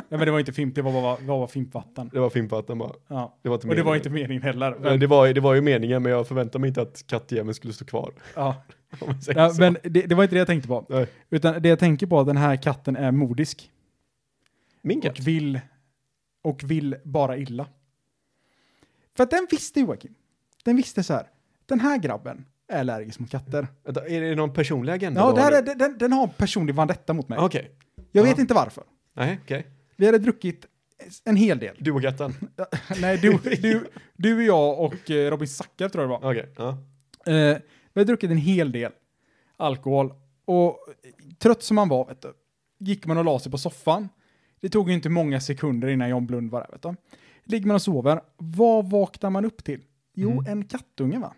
A: men det var inte fimp, det var bara, var bara fimpvatten.
C: Det var fimp på att den bara,
A: Ja.
C: det var inte
A: Och det var
C: meningen.
A: inte meningen heller.
C: Nej,
A: Men,
C: Det var, det var ju meningen, men jag förväntade mig inte att kattjäveln skulle stå kvar.
A: ja.
C: Om man säger
A: Ja,
C: så.
A: men det, det var inte det jag tänkte på.
C: Nej.
A: Utan det jag tänker på är att den här katten är modisk.
C: Min katt?
A: Och vill, och vill bara illa. För att den visste Joakim. Den visste så här. Den här grabben är allergisk mot katter.
C: Vänta, Är det någon personlig agenda?
A: Ja,
C: då?
A: Mm, det här är, den, den har en personlig vendetta mot mig.
C: Ah, Okej.
A: Jag vet
C: ja.
A: inte varför.
C: Nej, okej.
A: Vi hade druckit en hel del.
C: Du och katten?
A: Nej, du, du, du och jag och eh, Robin Sackar tror jag det var.
C: Okej. Ja.
A: Eh, vi har druckit en hel del alkohol och trött som man var, vet du, gick man och la sig på soffan. Det tog ju inte många sekunder innan John Blund var där, vet du. Ligger man och sover, vad vaknar man upp till? Jo,
C: Mm.
A: en kattunge va?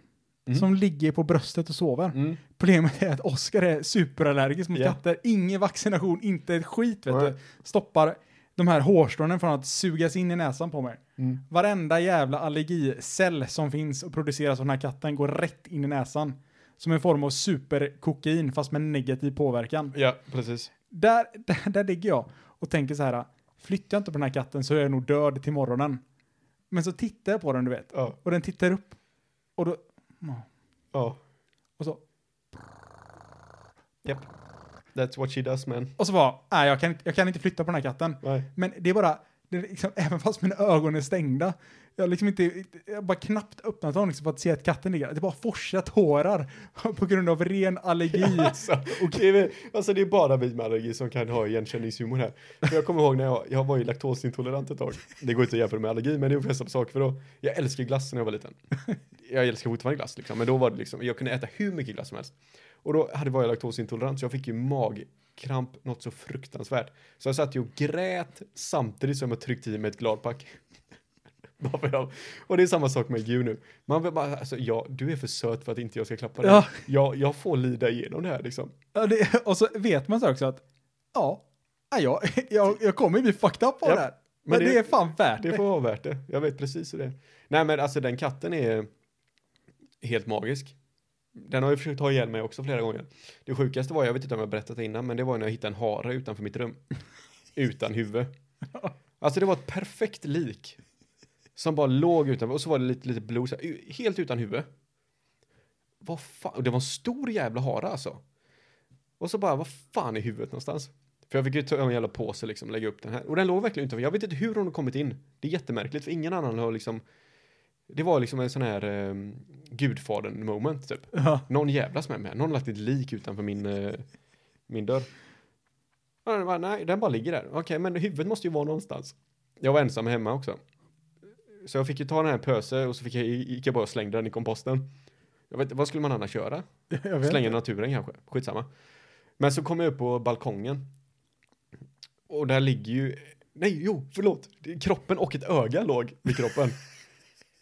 C: Mm.
A: Som ligger på bröstet och sover.
C: Mm.
A: Problemet är att Oskar är superallergisk mot
C: Ja.
A: katter. Ingen vaccination, inte ett skit vet
C: Nej.
A: du. Stoppar de här hårstrånen från att sugas in i näsan på mig.
C: Mm.
A: Varenda jävla allergicell som finns och produceras av den här katten går rätt in i näsan. Som en form av superkokain fast med negativ påverkan.
C: Ja, precis.
A: Där, där, där ligger jag och tänker så här, flyttar jag inte på den här katten så är jag nog död till morgonen. Men så tittar jag på den du vet,
C: Ja.
A: och den tittar upp. Och då,
C: Ja.
A: och så,
C: Japp. That's what she does man.
A: och så bara, nej jag kan, inte- jag kan inte flytta på den här katten.
C: Nej.
A: Men det är bara, det är liksom, även fast mina ögon är stängda, jag har liksom inte, jag har bara knappt öppnat dem liksom för att se att katten ligger där. Det bara forsar tårar på grund av ren allergi.
C: Alltså, det är, väl- alltså det är bara vi med allergi som kan ha igenkänningshumor här. För jag kommer ihåg när jag, jag var ju laktosintolerant ett tag. Det går inte att jämföra med allergi, men det är ungefär samma sak. För då, jag älskade glass när jag var liten. Jag älskar fortfarande glass liksom, men då var det liksom, jag kunde äta hur mycket glass som helst. Och då hade var jag laktosintolerant så jag fick ju magkramp något så fruktansvärt. Så jag satt ju och grät samtidigt som jag tryckte i mig ett gladpack. Bara för jag- och det är samma sak med Gu nu. Man vill bara, alltså ja, du är för söt för att inte jag ska klappa dig.
A: Ja.
C: Jag, jag får lida igenom det här liksom.
A: Ja, det, och så vet man så också att, ja, ja, jag, jag, jag kommer bli fucked up på
C: Japp.
A: det här. Men, det, är fan värt det.
C: Det får vara värt det. Jag vet precis hur det är. Nej men alltså den katten är helt magisk. Den har ju försökt ha ihjäl mig också flera gånger. Det sjukaste var, jag vet inte om jag berättat det innan, men det var när jag hittade en hare utanför mitt rum. Utan huvud. Alltså det var ett perfekt lik. Som bara låg utanför, och så var det lite, lite blod, så här, u- helt utan huvud. Vad fan, och det var en stor jävla hare alltså. Och så bara, vad fan är huvudet någonstans? För jag fick ju ta en jävla påse liksom, lägga upp den här. Och den låg verkligen utanför. Jag vet inte hur hon har kommit in. Det är jättemärkligt, för ingen annan har liksom... Det var liksom en sån här um, gudfadern moment, typ.
A: Ja.
C: Någon jävlas med mig. här. Någon har lagt ett lik utanför min, eh, min dörr. Ja, den bara, nej, den bara ligger där. Okej, men huvudet måste ju vara någonstans. Jag var ensam hemma också. Så jag fick ju ta den här en pöse och så fick jag, gick jag bara och slängde den i komposten. Jag vet inte, vad skulle man annars göra?
A: Jag vet.
C: Slänga i naturen kanske, skitsamma. Men så kom jag upp på balkongen. Och där ligger ju, nej jo, förlåt. Det är Kroppen och ett öga låg vid kroppen.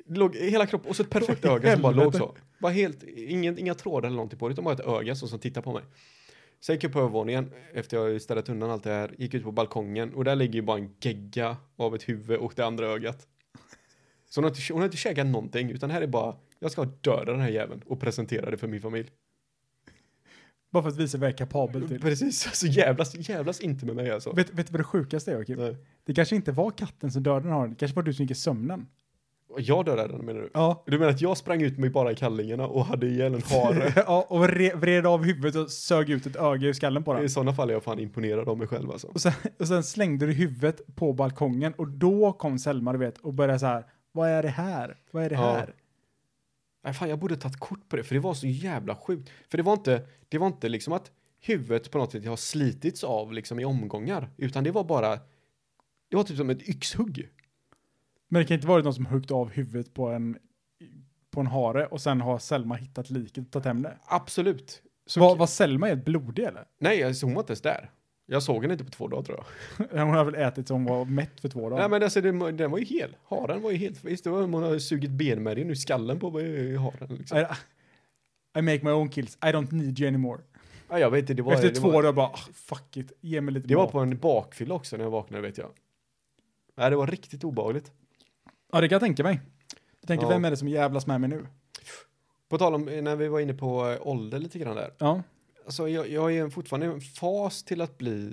C: Det låg i hela kroppen och så ett perfekt öga som bara låg så. Bara helt, ingen, inga trådar eller någonting på det, utan bara ett öga så, som tittar på mig. Sen gick jag på övervåningen efter jag städat undan allt det här, gick ut på balkongen och där ligger ju bara en gegga av ett huvud och det andra ögat. Så hon har inte, hon har inte käkat någonting, utan här är bara, jag ska döda den här jäveln och presentera det för min familj.
A: Bara för att visa vad jag är kapabel till.
C: Precis, alltså jävlas, jävlas inte med mig alltså.
A: Vet, vet du vad det sjukaste är Joakim?
C: Nej.
A: Det kanske inte var katten som dödade den här, det kanske var du som gick i sömnen.
C: Och Jag dödade den menar du?
A: Ja.
C: Du menar att jag sprang ut mig bara i kallingarna och hade ihjäl en hare?
A: ja, och re, vred av huvudet och sög ut ett öga ur skallen på den.
C: I sådana fall är jag fan imponerad av mig själv alltså.
A: Och sen, och sen slängde du huvudet på balkongen och då kom Selma, du vet, och började så här, vad är det här? Vad är det
C: Ja.
A: här?
C: Nej fan jag borde tagit kort på det för det var så jävla sjukt. För det var inte, det var inte liksom att huvudet på något sätt har slitits av liksom i omgångar. Utan det var bara, det var typ som ett yxhugg.
A: Men det kan inte varit någon som huggt av huvudet på en, på en hare och sen har Selma hittat liket och tagit hem det.
C: Absolut. Så,
A: var, var Selma helt blodig eller?
C: Nej alltså, hon var inte ens där. Jag såg henne inte på två dagar tror jag.
A: Hon har väl ätit så hon var mätt för två dagar.
C: Nej men alltså den, den var ju hel. Haren var ju helt, visst det var hon har sugit benmärgen ur skallen på eh, haren liksom.
A: I, I make my own kills, I don't need you anymore.
C: Ja, jag vet inte, det var...
A: Efter
C: det
A: två
C: var,
A: dagar bara, ah, fuck it, ge mig lite
C: Det var
A: mat.
C: på en bakfylla också när jag vaknade vet jag. Nej, det var riktigt obehagligt.
A: Ja det kan jag tänka mig. Jag tänker,
C: Ja.
A: vem är det som jävlas med mig nu?
C: På tal om eh, när vi var inne på eh, ålder lite grann där.
A: Ja,
C: Alltså jag, jag är fortfarande i en fas till att bli...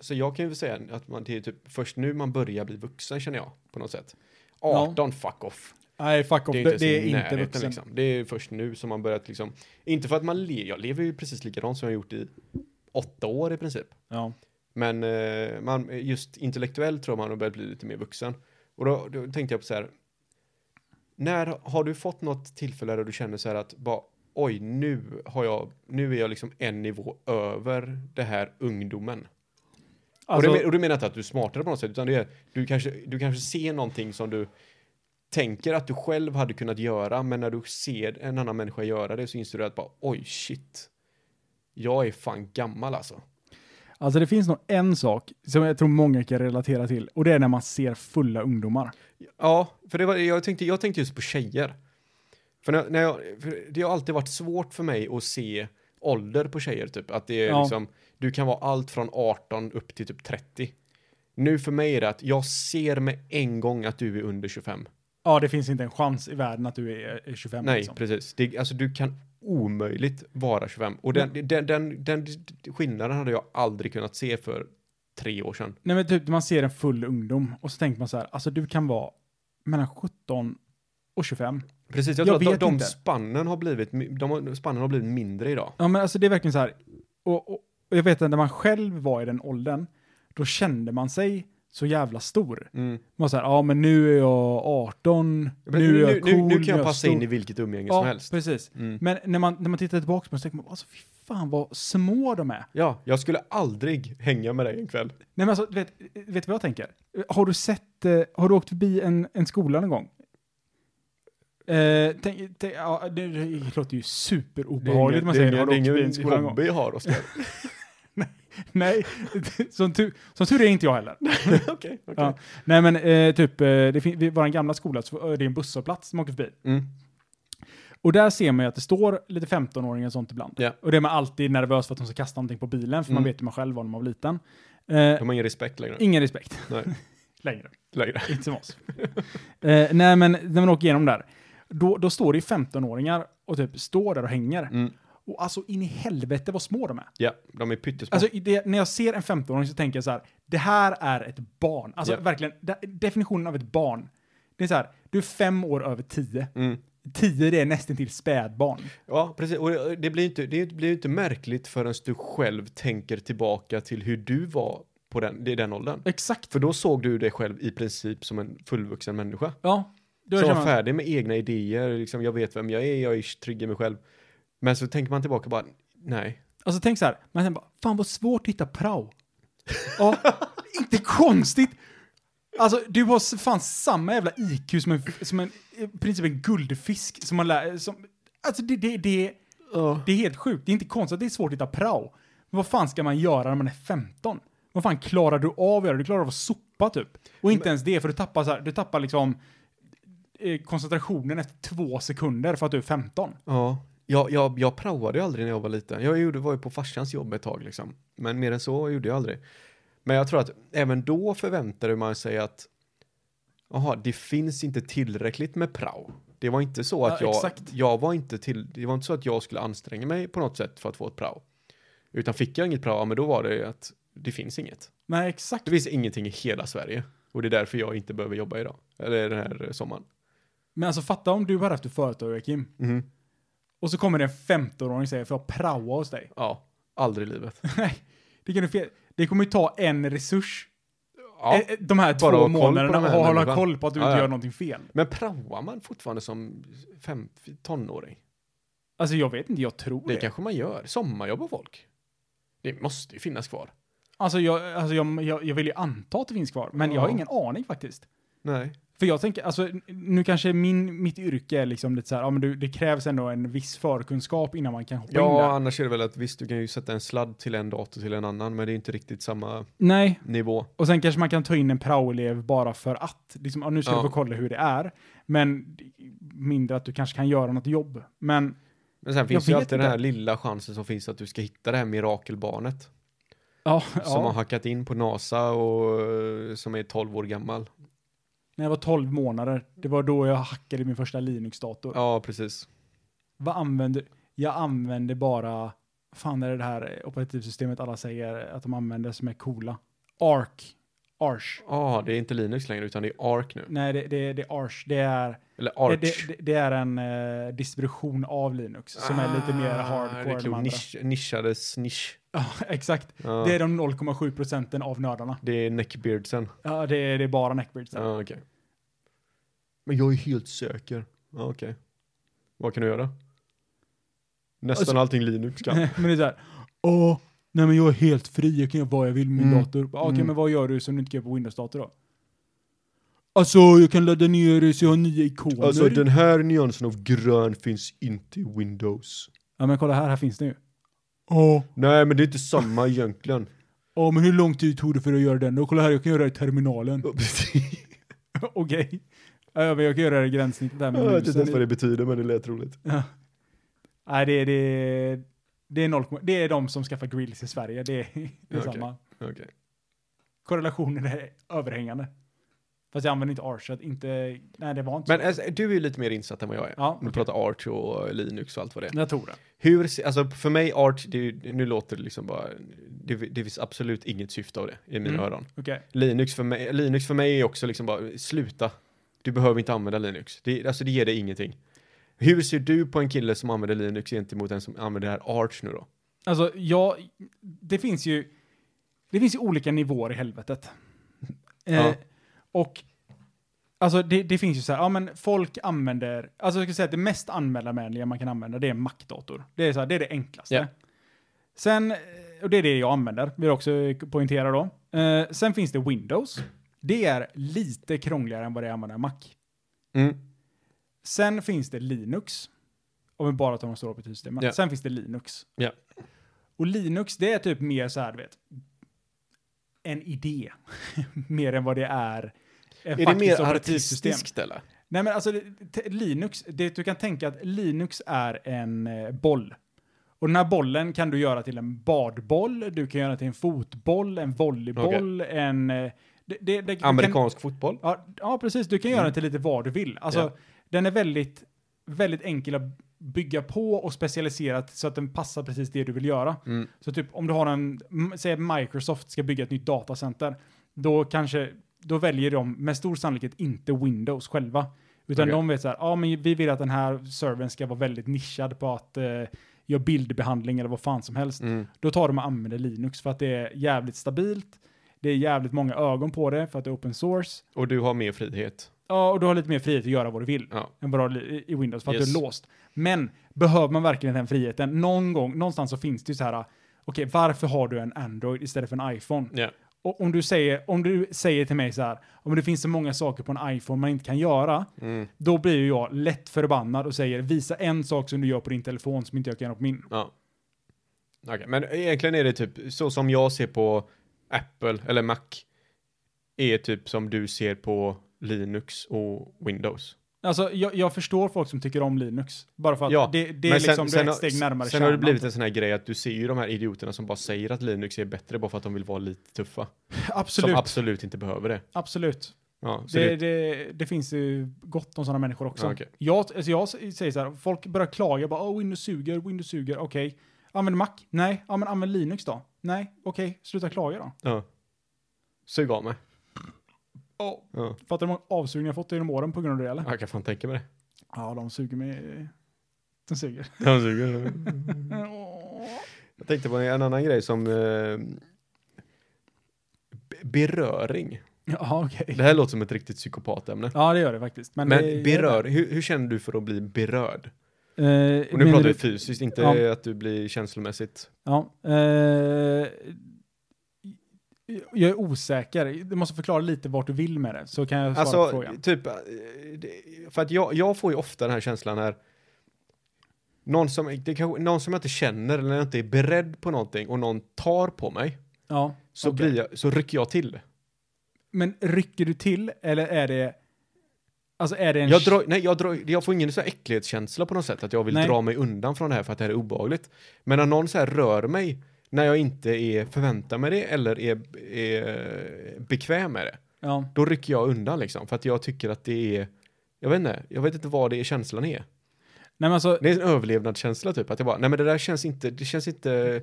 C: Så jag kan ju säga att man, det är typ först nu man börjar bli vuxen känner jag på något sätt. 18, fuck off.
A: nej fuck off, det, det, är
C: ens i
A: inte
C: närheten,
A: vuxen.
C: Liksom. Det är först nu som man börjat liksom, inte för att man lever, jag lever ju precis likadant som jag gjort i åtta år i princip.
A: Ja.
C: Men eh, man, just intellektuellt tror man har börjat bli lite mer vuxen. Och då, då tänkte jag på så här. När har du fått något tillfälle där du känner så här att bara oj, nu har jag, nu är jag liksom en nivå över det här ungdomen.
A: Alltså,
C: och, det, men- och du menar inte att du är smartare på något sätt, utan det är, du kanske, du kanske ser någonting som du tänker att du själv hade kunnat göra, men när du ser en annan människa göra det så inser du att bara oj, shit. Jag är fan gammal alltså.
A: alltså det finns nog en sak som jag tror många kan relatera till och det är när man ser fulla ungdomar.
C: Ja, för det var, jag, tänkte, jag tänkte just på tjejer. För, när, när jag, för det har alltid varit svårt för mig att se ålder på tjejer, typ. Att det är
A: Ja.
C: liksom, du kan vara allt från 18 upp till typ 30. Nu för mig är det att jag ser med en gång att du är under 25.
A: Ja det finns inte en chans i världen att du är, är 25.
C: Nej,
A: liksom.
C: precis. Det, alltså du kan omöjligt vara 25. Och den, den, den, den, skillnaden hade jag aldrig kunnat se för tre år sedan.
A: Nej men typ man ser en full ungdom och så tänker man så här, alltså du kan vara mellan 17 och 25.
C: Precis,
A: Jag
C: jag tror att
A: vet
C: de, de
A: inte.
C: spannen har blivit, de, har- spannen har blivit mindre idag.
A: Ja men alltså det är verkligen så här, och, och, och jag vet att när man själv var i den åldern, då kände man sig så jävla stor.
C: Mm.
A: Man var så här, ja men nu är jag 18,
C: Men
A: nu är jag cool,
C: nu, nu kan jag passa in
A: stor."
C: i vilket umgänge
A: ja,
C: som helst.
A: precis.
C: Mm.
A: Men när man, när man tittar tillbaka på det så tänker man, alltså fy fan vad små de är.
C: Ja, jag skulle aldrig hänga med dig en kväll.
A: Nej men alltså, vet, vet du vad jag tänker? Har du sett, eh, har du åkt förbi en, en skola någon gång? Eh, tänk, tänk, ja, det, det låter ju superobehagligt om man
C: det
A: säger
C: är ingen-
A: har du åkt förbi
C: det är
A: en
C: ingen
A: skola någon gång?
C: hobby jag har, Oskar.
A: Nej, som tur, som tur är inte jag heller.
C: Okej,
A: Ja. Nej men eh, typ, eh, det fin- vid vår gamla skola så eh, det är en busshållplats som åker förbi.
C: Mm.
A: Och där ser man ju att det står lite 15-åringar och sånt ibland.
C: Ja.
A: Och det är man alltid nervös för att de ska kasta någonting på bilen, för man
C: Mm.
A: vet ju man själv var när man var liten. Eh,
C: De har ingen respekt längre.
A: ingen respekt
C: Nej,
A: längre.
C: längre.
A: Inte som oss. eh, nej, men när man åker igenom där, då, då står det ju 15-åringar och typ står där och hänger.
C: Mm.
A: Och alltså in i helvete vad små de är.
C: Ja, de är pyttesmå.
A: Alltså i det, när jag ser en 15-åring så tänker jag så här, det här är ett barn. Alltså
C: Ja.
A: verkligen, de, definitionen av ett barn. Det är så här, du är fem år över tio.
C: Mm.
A: Tio det är nästan till spädbarn.
C: Ja, precis. Och eh, det det blir ju inte, det blir ju inte märkligt förrän du själv tänker tillbaka till hur du var på den, i den åldern.
A: Exakt.
C: För då såg du dig själv i princip som en fullvuxen människa.
A: Ja. Då
C: Som
A: känner
C: var
A: man-
C: färdig med egna idéer, liksom, jag vet vem jag är, jag är trygg i mig själv. Men så tänker man tillbaka bara, nej,
A: Alltså tänk så här, man tänker bara, fan vad svårt att hitta prao. Ja, inte konstigt. Alltså du har s- fan samma jävla IQ som en, som en i princip en guldfisk som man lär, som, alltså det, det, det, det är helt sjukt. Det är inte konstigt att det är svårt att hitta prao. Men vad fan ska man göra när man är 15? Vad fan klarar du av att göra? Du klarar av att sopa typ. Och inte ens det, för du tappar så här, du tappar liksom eh, koncentrationen efter två sekunder för att du är 15.
C: Ja, jag, jag, jag praoade ju aldrig när jag var liten. Jag gjorde, var ju på farsans jobb ett tag liksom. Men mer än så gjorde jag aldrig. Men jag tror att även då förväntade man sig att jaha, det finns inte tillräckligt med prao. Det var inte så att
A: Ja,
C: jag,
A: exakt.
C: jag var inte till, det var inte så att jag skulle anstränga mig på något sätt för att få ett prao. Utan fick jag inget prao, ja, men då var det ju att det finns inget.
A: Nej, exakt.
C: Det finns ingenting i hela Sverige. Och det är därför jag inte behöver jobba idag. Eller den här sommaren.
A: Men alltså fatta om du hade haft ett företag, Kim.
C: Mhm.
A: Och så kommer det en 15-åring och säger för jag praoa hos dig.
C: Ja, aldrig i livet.
A: Nej, det kan du fel. Det kommer ju ta en resurs
C: Ja.
A: Eh, eh, De här två
C: Bara ha koll på
A: månaderna
C: de här
A: och hålla
C: människorna.
A: koll på att du
C: Ja,
A: inte
C: ja.
A: gör någonting fel.
C: Men praoar man fortfarande som fem, tonåring?
A: Alltså jag vet inte, jag tror
C: Det
A: det.
C: kanske man gör. Sommarjobbar folk. Det måste ju finnas kvar.
A: Alltså, jag, alltså jag, jag, jag vill ju anta att det finns kvar, men jag har
C: Ja.
A: ingen aning faktiskt.
C: Nej.
A: För jag tänker, alltså n- nu kanske min, mitt yrke är liksom lite så här, ja men du, det krävs ändå en viss förkunskap innan man kan hoppa in
C: Ja,
A: där.
C: annars är det väl att visst, du kan ju sätta en sladd till en dator till en annan, men det är inte riktigt samma
A: Nej,
C: nivå.
A: och sen kanske man kan ta in en praoelev bara för att. Liksom, ja, nu ska
C: Ja.
A: du få kolla hur det är. Men d- mindre att du kanske kan göra något jobb. Men
C: Men sen finns
A: Jag
C: ju
A: vet inte.
C: alltid den här lilla chansen som finns att du ska hitta det här mirakelbarnet
A: ja,
C: som har
A: ja.
C: hackat in på NASA och eh, som är 12 år gammal.
A: när jag var 12 månader, det var då jag hackade min första Linux-dator.
C: Ja, precis.
A: Vad använder, jag använder bara, fan är det det här operativsystemet alla säger att de använder som är coola? Arc. Arch.
C: Ja, det är inte Linux längre utan det är Arc nu.
A: Nej, det, det, det är Arch. Det är,
C: Eller
A: det,
C: Arch.
A: det, det- det är en eh, distribution av Linux som är lite mer
C: Ah,
A: hardcore
C: det
A: än
C: är
A: de
C: klokt.
A: andra.
C: Nisch, nischades nisch.
A: Ja, exakt.
C: Ja,
A: Det
C: det
A: är
C: är,
A: de 0,7 procenten av nördarna.
C: neckbeardsen.
A: Ja, det, är- det är bara neckbeards.
C: Ja, okej. Men jag är helt säker. Ja, okej. Vad kan du göra? Nästan
A: Alltså-
C: allting Linux kan.
A: men det är så här, åh, nej men jag är helt fri, jag kan göra vad jag vill med min
C: Mm.
A: dator. Bara, Okej,
C: Mm.
A: men vad gör du som du inte gör på Windows-dator då? Alltså, jag kan ladda ner det så jag har nya ikoner.
C: Alltså den här nyansen av grön finns inte i Windows.
A: Ja, men kolla här, här finns det ju. Åh,
C: Nej, men det är inte samma egentligen.
A: ja, men hur lång tid tog det för att göra den då? Kolla här, jag kan göra det i terminalen. Okej. Ja, men jag kan göra det i gränssnittet där med
C: jag vet inte ens
A: musen.
C: vad det betyder, men det lät roligt.
A: Nej, det är... Det är, det är, 0, det är de som skaffar grills i Sverige, det är, det är
C: Okej.
A: samma.
C: Okej.
A: Korrelationen är överhängande. Fast jag använder inte Archet, inte... Nej, det var inte
C: Men alltså, du är ju lite mer insatt än vad jag är.
A: Ja,
C: Du
A: okej.
C: pratar Arch och Linux och allt vad det är.
A: så. Jag tror det.
C: Hur, se- alltså för mig Arch, det, är ju- nu låter det liksom bara, det, det finns absolut inget syfte av det i mina
A: Mm.
C: öron.
A: Okej.
C: Linux för, mig, Linux för mig är också liksom bara, sluta. Du behöver inte använda Linux. Det, alltså det ger dig ingenting. Hur ser du på en kille som använder Linux gentemot en som använder det här Arch nu då?
A: Alltså, ja, det finns ju... Det finns ju olika nivåer i helvetet. Eh,
C: Ja.
A: Och, alltså det, det finns ju så här, ja men folk använder, alltså jag skulle säga att det mest användarvänliga man kan använda, det är en Mac-dator. Det är så här, det är det enklaste.
C: Ja.
A: Sen, eh, och det är det jag använder, vill jag också poängtera då. Eh, sen finns det Windows. Det är lite krångligare än vad det är att använda en Mac.
C: Mm.
A: Sen finns det Linux. Om vi bara tar de stora betygssystemen.
C: Ja.
A: Sen finns det Linux.
C: Ja.
A: Och Linux, det är typ mer så här, du vet, en idé. mer än vad det är. ett
C: Är det
A: faktiskt
C: mer
A: operativsystem.
C: artistiskt eller?
A: Nej men alltså, det- te- Linux, det, du kan tänka att Linux är en eh, boll. Och den här bollen kan du göra till en badboll, du kan göra till en fotboll, en volleyboll, en... eh, Det, det, det, du kan-
C: Amerikansk fotboll?
A: Ja, ja precis. Du kan göra den till lite vad du vill. Alltså,
C: Mm. Ja.
A: den är väldigt, väldigt enkel att bygga på och specialiserat så att den passar precis det du vill göra.
C: Mm.
A: Så typ om du har en, m- säg att Microsoft ska bygga ett nytt datacenter, då kanske, då väljer de med stor sannolikhet inte Windows själva. Utan
C: Okej.
A: de vet så här, ja men vi vill att den här servern ska vara väldigt nischad på att eh, göra bildbehandling eller vad fan som helst.
C: Mm.
A: Då tar de och använder Linux för att det är jävligt stabilt, det är jävligt många ögon på det för att det är open source.
C: Och du har mer frihet?
A: Ja, och du har lite mer frihet att göra vad du vill
C: Ja.
A: än vad du har li- i Windows för att
C: Yes.
A: du är låst. Men behöver man verkligen den friheten? Någon gång, någonstans så finns det ju så här, okej, varför har du en Android istället för en iPhone?
C: Ja.
A: Och om du säger, om du säger till mig så här, om det finns så många saker på en iPhone man inte kan göra,
C: Mm.
A: då blir ju jag lätt förbannad och säger visa en sak som du gör på din telefon som inte jag kan göra på min.
C: Ja. Okej, Men egentligen är det typ så som jag ser på Apple eller Mac är typ som du ser på Linux och Windows.
A: Alltså, jag, jag förstår folk som tycker om Linux, bara för att
C: Ja,
A: det, det är liksom, du är ett
C: har-
A: steg närmare
C: sen har det
A: kärnan.
C: blivit en sån här grej att du ser ju de här idioterna som bara säger att Linux är bättre bara för att de vill vara lite tuffa.
A: Absolut,
C: Som absolut inte behöver det.
A: absolut.
C: Ja, så
A: Det,
C: det,
A: det, det finns ju gott om sådana människor också.
C: Ja, okej.
A: jag, alltså jag säger så här, folk börjar klaga, bara oh, Windows suger, Windows suger, okej. Använd Mac? Nej. Ja, men använd Linux då? Nej, okej, sluta klaga då.
C: ja. Sug av mig.
A: Oh.
C: Ja.
A: Fattar du hur många avsugningar jag fått genom åren på grund av det eller?
C: Jag kan fan tänka mig det.
A: Ja, de suger mig. eh, De suger.
C: Han suger. Mm. Jag tänkte på en annan grej som eh, be- beröring.
A: Ja, okej.
C: Det här låter som ett riktigt psykopatämne.
A: Ja, det gör det faktiskt. Men,
C: Men
A: det,
C: berör, hur, hur känner du för att bli berörd?
A: Eh, nu
C: Och nu pratar vi fysiskt, inte
A: Ja.
C: att du blir känslomässigt.
A: Ja. Eh, jag är osäker. Du måste förklara lite vart du vill med det, så kan jag svara på
C: Alltså,
A: frågan.
C: typ, eh, det- för att jag, jag får ju ofta den här känslan här. Någon som, det kan, någon som jag inte känner eller jag inte är beredd på någonting och någon tar på mig
A: Ja,
C: så,
A: okej.
C: blir jag, så rycker jag till.
A: Men rycker du till, eller är det... Alltså är det en...
C: Jag, drar, nej, jag, drar, jag får ingen så här äcklighetskänsla på något sätt att jag vill
A: Nej.
C: dra mig undan från det här för att det här är obehagligt. Men när någon så här rör mig när jag inte är, förväntar mig det eller är, är bekväm med det,
A: Ja.
C: då rycker jag undan liksom. För att jag tycker att det är, jag vet inte, jag vet inte vad det är känslan är.
A: Nej men alltså,
C: Det är en överlevnadskänsla typ, att jag bara, nej men det där känns inte, det känns inte,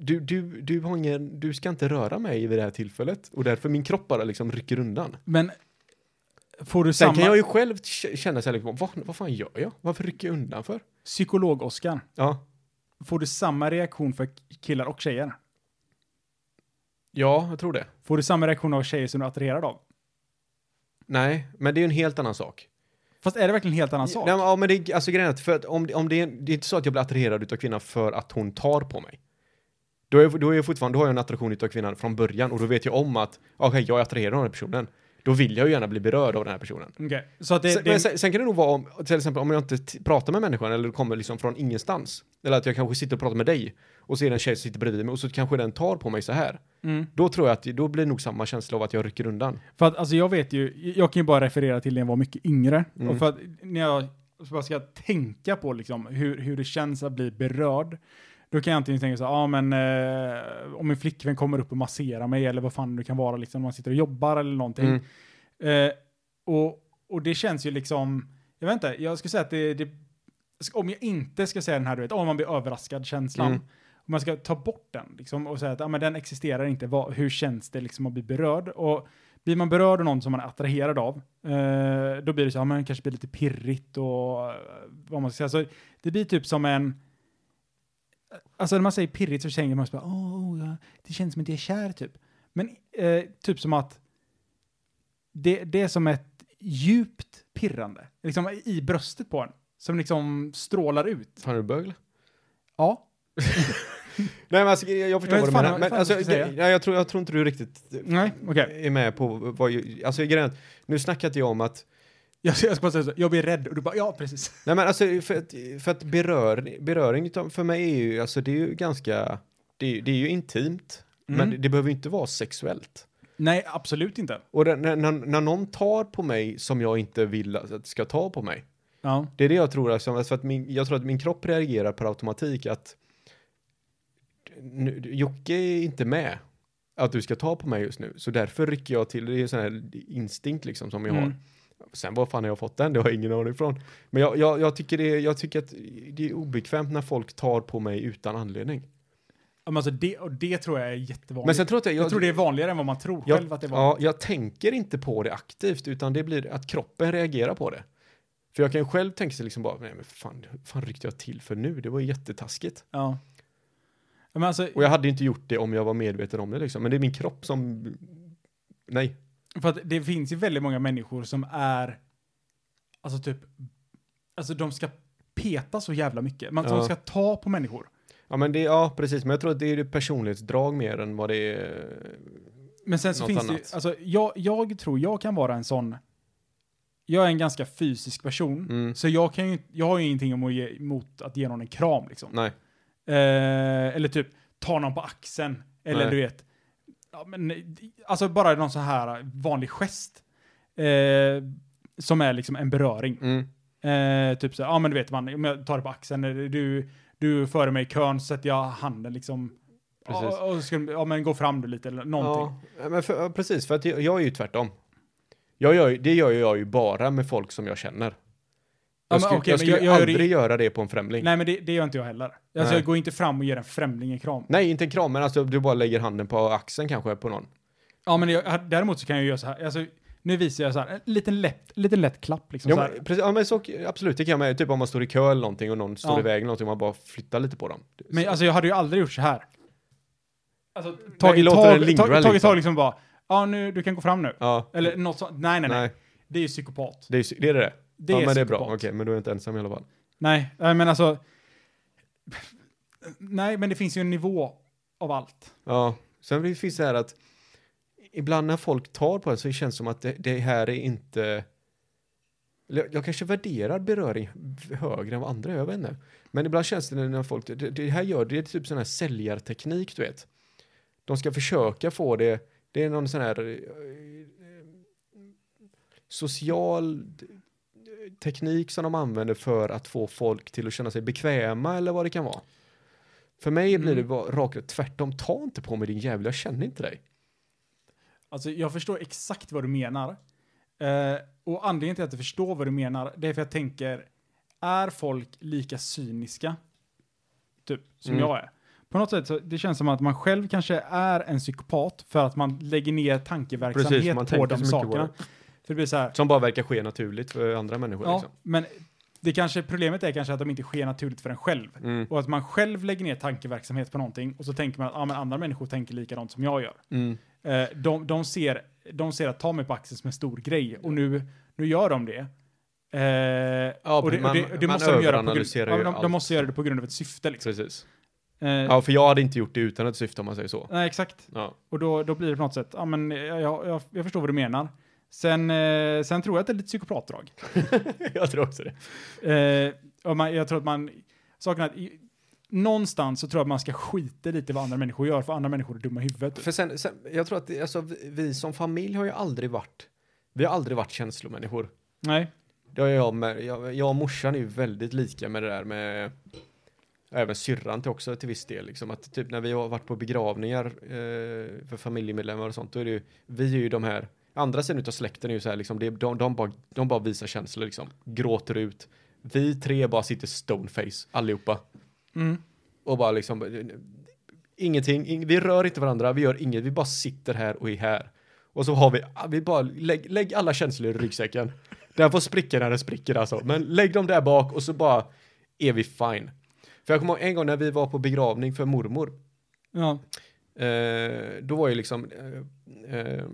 C: du, du, du har ingen, du ska inte röra mig vid det här tillfället. Och därför min kropp bara liksom rycker undan.
A: men... Får du
C: Sen
A: samma...
C: kan jag ju själv k- känna så här, liksom, vad, vad fan gör jag? Varför rycker jag undan för?
A: Psykolog-Oskar,
C: Ja.
A: får du samma reaktion för killar och tjejer?
C: Ja, jag tror det.
A: Får du samma reaktion av tjejer som du är attraherad av?
C: Nej, men det är ju en helt annan sak.
A: Fast är det verkligen en helt annan sak?
C: Nej, men- ja, men det är, alltså grejen är att, för att om, det- om det, är, det är inte så att jag blir attraherad utav kvinnan för att hon tar på mig. Då, är, då, är jag fortfarande, då har jag en attraktion utav kvinnan från början och då vet jag om att, okej, jag är attraherad av den här personen. Då vill jag ju gärna bli berörd av den här personen.
A: Okej, så att det,
C: sen,
A: det
C: men sen, sen kan det nog vara om, till exempel om jag inte t- pratar med människan eller kommer liksom från ingenstans. Eller att jag kanske sitter och pratar med dig och så är det en tjej som sitter bredvid mig och så kanske den tar på mig så här.
A: Mm.
C: Då tror jag att då blir det nog samma känsla av att jag rycker undan.
A: För att alltså jag vet ju, jag kan ju bara referera till när jag var mycket yngre.
C: Mm.
A: Och för att när jag bara ska tänka på liksom hur, hur det känns att bli berörd, då kan jag antingen tänka så här, ah, men eh, om min flickvän kommer upp och masserar mig eller vad fan det kan vara liksom, om man sitter och jobbar eller någonting.
C: Mm.
A: Eh, och, och det känns ju liksom, jag vet inte, jag skulle säga att det, det om jag inte ska säga den här, du vet, om man blir överraskad känslan,
C: Mm.
A: om man ska ta bort den liksom, och säga att ah, men den existerar inte, vad, hur känns det liksom att bli berörd? Och blir man berörd av någon som man är attraherad av, eh, då blir det så, ja men kanske blir lite pirrigt och eh, vad man ska säga. Så det blir typ som en, alltså när man säger pirrigt så känner man så bara, åh, ja, det känns som att jag är kär typ. Men eh, typ som att det, det är som ett djupt pirrande, liksom i bröstet på en, som liksom strålar ut.
C: Fan, är du bög eller?
A: Ja.
C: Nej men alltså, jag, jag förstår
A: Jag vet
C: vad du
A: fan
C: menar.
A: vad-
C: Men,
A: fan
C: alltså,
A: vad jag ska
C: jag,
A: säga.
C: jag, tror, jag tror inte du riktigt eh,
A: Nej, okej.
C: är med på vad ju, alltså grejen är att nu snackar inte jag om att,
A: Jag, jag ska bara säga så, jag blir rädd och du bara, ja precis.
C: nej men alltså för att, för att berör, beröring utav- för mig är ju, alltså det är ju ganska, det är, ju- det är ju intimt,
A: Mm.
C: men det, det behöver ju inte vara sexuellt.
A: Nej, absolut inte.
C: Och det, när, när, när någon tar på mig som jag inte vill att ska ta på mig,
A: Ja.
C: Det är det jag tror, liksom, alltså, för att min, jag tror att min kropp reagerar per automatik att nu, Jocke är inte med att du ska ta på mig just nu, så därför rycker jag till, det är en sån här instinkt liksom som jag har.
A: Mm.
C: Sen var fan har jag fått den, det har jag ingen aning ifrån. Men jag, jag, jag, tycker det, är- jag tycker att det är obekvämt när folk tar på mig utan anledning.
A: Ja, Men alltså det, och det tror jag är jättevanligt.
C: Men sen tror jag att jag,
A: jag, tror det är vanligare än vad man tror
C: jag,
A: själv att det var.
C: ja, jag tänker inte på det aktivt, utan det blir att kroppen reagerar på det. För jag kan ju själv tänka sig liksom bara, nej men fan, fan ryckte jag till för nu? Det var ju jättetaskigt.
A: Ja. Ja, Men alltså,
C: Och jag hade inte gjort det om jag var medveten om det liksom. Men det är min kropp som... Nej.
A: för att det finns ju väldigt många människor som är, alltså typ, alltså de ska peta så jävla mycket. Man,
C: Ja.
A: De ska ta på människor.
C: Ja men det, ja precis. Men jag tror att det är det personlighetsdrag mer än vad det är...
A: Men sen så
C: Något
A: finns det ju,
C: annat.
A: alltså jag, jag tror jag kan vara en sån, jag är en ganska fysisk person,
C: Mm.
A: så jag kan ju, jag har ju ingenting emot att ge, emot att ge någon en kram liksom.
C: Nej.
A: Eh, eller typ ta någon på axeln. Eller
C: Nej.
A: du vet. Ja, men, alltså bara någon så här vanlig gest. Eh, som är liksom en beröring.
C: Mm.
A: Eh, typ så här, ja men du vet man, om jag tar dig på axeln, eller du, du är före mig i kön så sätter jag handen liksom.
C: Precis.
A: Ja, och skulle, ja men gå fram du lite eller någonting.
C: Ja, men för, ja, precis. För att jag, jag är ju tvärtom. Jag gör, ju- det gör ju jag ju bara med folk som jag känner.
A: men
C: Jag, skulle,
A: okej,
C: jag
A: men
C: skulle
A: jag- jag gör det-
C: aldrig göra det på en främling.
A: Nej
C: Nej.
A: men det, det gör inte jag heller. Alltså
C: Nej.
A: jag går inte fram och ger en främling en kram.
C: inte en kram, men alltså du bara lägger handen på axeln kanske på någon.
A: Ja men jag, däremot så kan jag göra så här, alltså nu visar jag så här, en liten lätt, liten lätt klapp liksom
C: Ja,
A: så här.
C: men, precis, ja, men så, absolut, det kan jag med. Typ om man står i kö eller någonting och någon står
A: Ja.
C: i vägen eller någonting, man bara flyttar lite på dem.
A: Men alltså jag hade ju aldrig gjort så här. Alltså,
C: vi
A: tagit
C: låter
A: tag,
C: det lingra
A: tag, tagit
C: liksom.
A: tag liksom bara, ja ja nu, du kan gå fram nu.
C: Ja,
A: Eller något sånt. Nej, nej, nej.
C: nej.
A: Det är ju psykopat.
C: Det är, sy- det är det.
A: Det
C: ja,
A: är
C: men det är
A: psykopat.
C: bra. Okej, men du är inte ensam i alla fall.
A: Nej, nej, men alltså. Nej, men det finns ju en nivå av allt.
C: Ja, sen det finns det här att ibland när folk tar på det så känns det som att det, det här är inte... eller Jag jag kanske värderar beröring högre än vad andra gör, jag vet inte. Men ibland känns det när folk, det, det här gör det är typ sån här säljarteknik, du vet. De ska försöka få det, det är någon sån här eh, social eh, teknik som de använder för att få folk till att känna sig bekväma eller vad det kan vara. För mig blir det
A: Mm.
C: bara rakt tvärtom, ta inte på mig din jävel, jag känner inte dig.
A: Alltså, jag förstår exakt vad du menar. Eh, och anledningen till att jag förstår vad du menar, det är för jag tänker, är folk lika cyniska? Typ, som
C: Mm.
A: jag är. På något sätt så det känns som att man själv kanske är en psykopat för att man lägger ner tankeverksamhet
C: Precis, man
A: på
C: tänker så
A: de
C: mycket på
A: sakerna. För det blir så här,
C: Som bara verkar ske naturligt för andra människor
A: Ja,
C: liksom.
A: men det kanske, problemet är kanske att de inte sker naturligt för en själv.
C: Mm.
A: Och att man själv lägger ner tankeverksamhet på någonting och så tänker man att ah, men andra människor tänker likadant som jag gör.
C: Mm.
A: Eh, de, de, ser, de ser att ta mig på axeln som en stor grej och nu, nu gör de det. Eh,
C: Ja,
A: och det,
C: man-
A: och det, det
C: man
A: måste de, göra på grund,
C: överanalyserar
A: ja,
C: ju
A: men de,
C: allt.
A: de måste göra det på grund av ett syfte. Liksom.
C: Precis.
A: Eh,
C: Ja, för jag hade inte gjort det utan ett syfte om man säger så.
A: Nej, exakt.
C: Ja.
A: Och då, då blir det på något sätt, ja men jag, jag, jag, jag förstår vad du menar. Sen, eh, sen tror jag att det är lite psykopatdrag.
C: jag tror också det.
A: Eh, och man, jag tror att man, saken är att i, någonstans så tror jag att man ska skita lite vad andra människor gör, för andra människor är dumma i huvudet.
C: För sen, sen jag tror att det, alltså, vi, vi som familj har ju aldrig varit, vi har aldrig varit känslomänniskor.
A: Nej,
C: Det har jag, med, jag, jag och morsan är ju väldigt lika med det där med Även syrran till också till viss del liksom att typ när vi har varit på begravningar eh, för familjemedlemmar och sånt då är det ju Vi är ju de här Andra sidan utav släkten är ju så här liksom det, de, de, bara, de bara visar känslor liksom Gråter ut Vi tre bara sitter stoneface allihopa
A: mm.
C: och bara liksom eh, ingenting, ing, vi rör inte varandra, vi gör inget, vi bara sitter här och är här. Och så har vi, ah, vi bara lägg, lägg alla känslor i ryggsäcken. Den får spricka när den spricker alltså, men lägg dem där bak och så bara är vi fine. För jag kommer ihåg en gång när vi var på begravning för mormor,
A: ja.
C: eh, då var ju liksom eh, eh,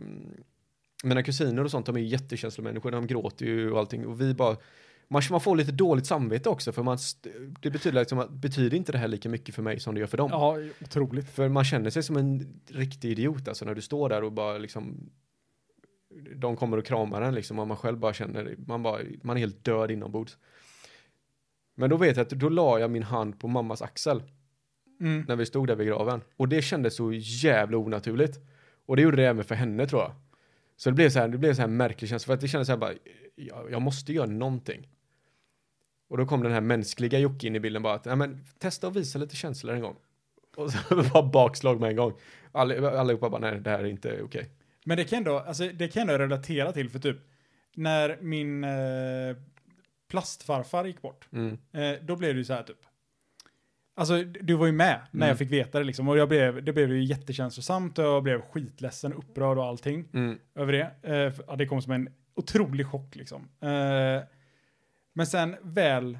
C: mina kusiner och sånt, de är ju jättekänslomänniskor, de gråter ju och allting och vi bara man, man får lite dåligt samvete också för man, st- det betyder liksom att betyder inte det här lika mycket för mig som det gör för dem?
A: ja, otroligt.
C: För man känner sig som en riktig idiot alltså när du står där och bara liksom de kommer och kramar en liksom och man själv bara känner, man, bara, man är helt död inombords. Men då vet jag att då la jag min hand på mammas axel
A: Mm.
C: när vi stod där vid graven och det kändes så jävla onaturligt. Och det gjorde det även för henne tror jag. Så det blev så här, det blev så här märklig känsla för att det kändes så här bara, jag, jag måste göra någonting. Och då kom den här mänskliga Jocke in i bilden bara att, nej men testa och visa lite känslor en gång. Och så bara bakslag med en gång. All, allihopa bara, nej det här är inte okej.
A: Men det kan ändå, alltså, det kan ändå relatera till för typ när min eh, plastfarfar gick bort,
C: Mm.
A: eh, då blev det ju så här typ. Alltså d- du var ju med när jag fick veta det liksom och jag blev, det blev ju jättekänslosamt och jag blev skitledsen, upprörd och allting.
C: Mm.
A: över det. Eh, för- ja, det kom som en otrolig chock liksom. Eh, men sen väl,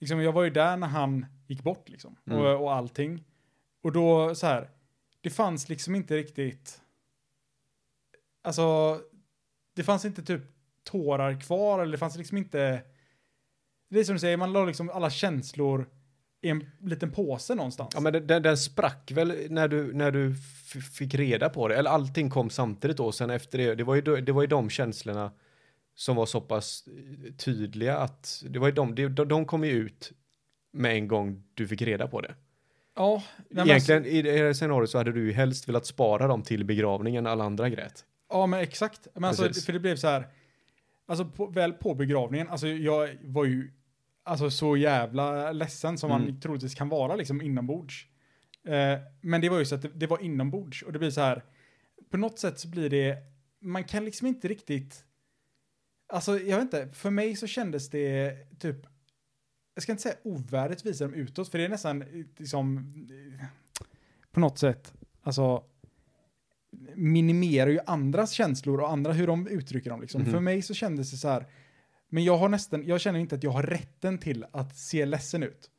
A: liksom, jag var ju där när han gick bort liksom.
C: Mm.
A: Och, och allting. Och då så här, det fanns liksom inte riktigt, alltså, det fanns inte typ tårar kvar eller det fanns liksom inte, det är som du säger, man la liksom alla känslor i en liten påse någonstans.
C: Ja men den- den, den sprack väl när du, när du f- fick reda på det, eller allting kom samtidigt då, sen efter det, det var ju, då- det var ju de känslorna som var så pass eh, tydliga att, det var ju de, det- de, de kom ju ut med en gång du fick reda på det.
A: ja nej, men alltså-
C: Egentligen i det här scenariot så hade du ju helst velat spara dem till begravningen när alla andra grät.
A: Ja, men exakt. Men alltså,
C: Precis.
A: för det blev så här. Alltså, på, väl på begravningen, alltså jag var ju alltså, så jävla ledsen som man
C: Mm.
A: troligtvis kan vara liksom inombords. Eh, men det var ju så att det, det var inombords och det blir så här. På något sätt så blir det, man kan liksom inte riktigt, alltså jag vet inte, för mig så kändes det typ, jag ska inte säga ovärdigt visa dem utåt, för det är nästan eh, liksom, eh, på något sätt, alltså minimerar ju andras känslor och andra hur de uttrycker dem. Liksom.
C: Mhm.
A: För mig så kändes det så här, men jag har nästan, jag känner inte att jag har rätten till att se ledsen ut.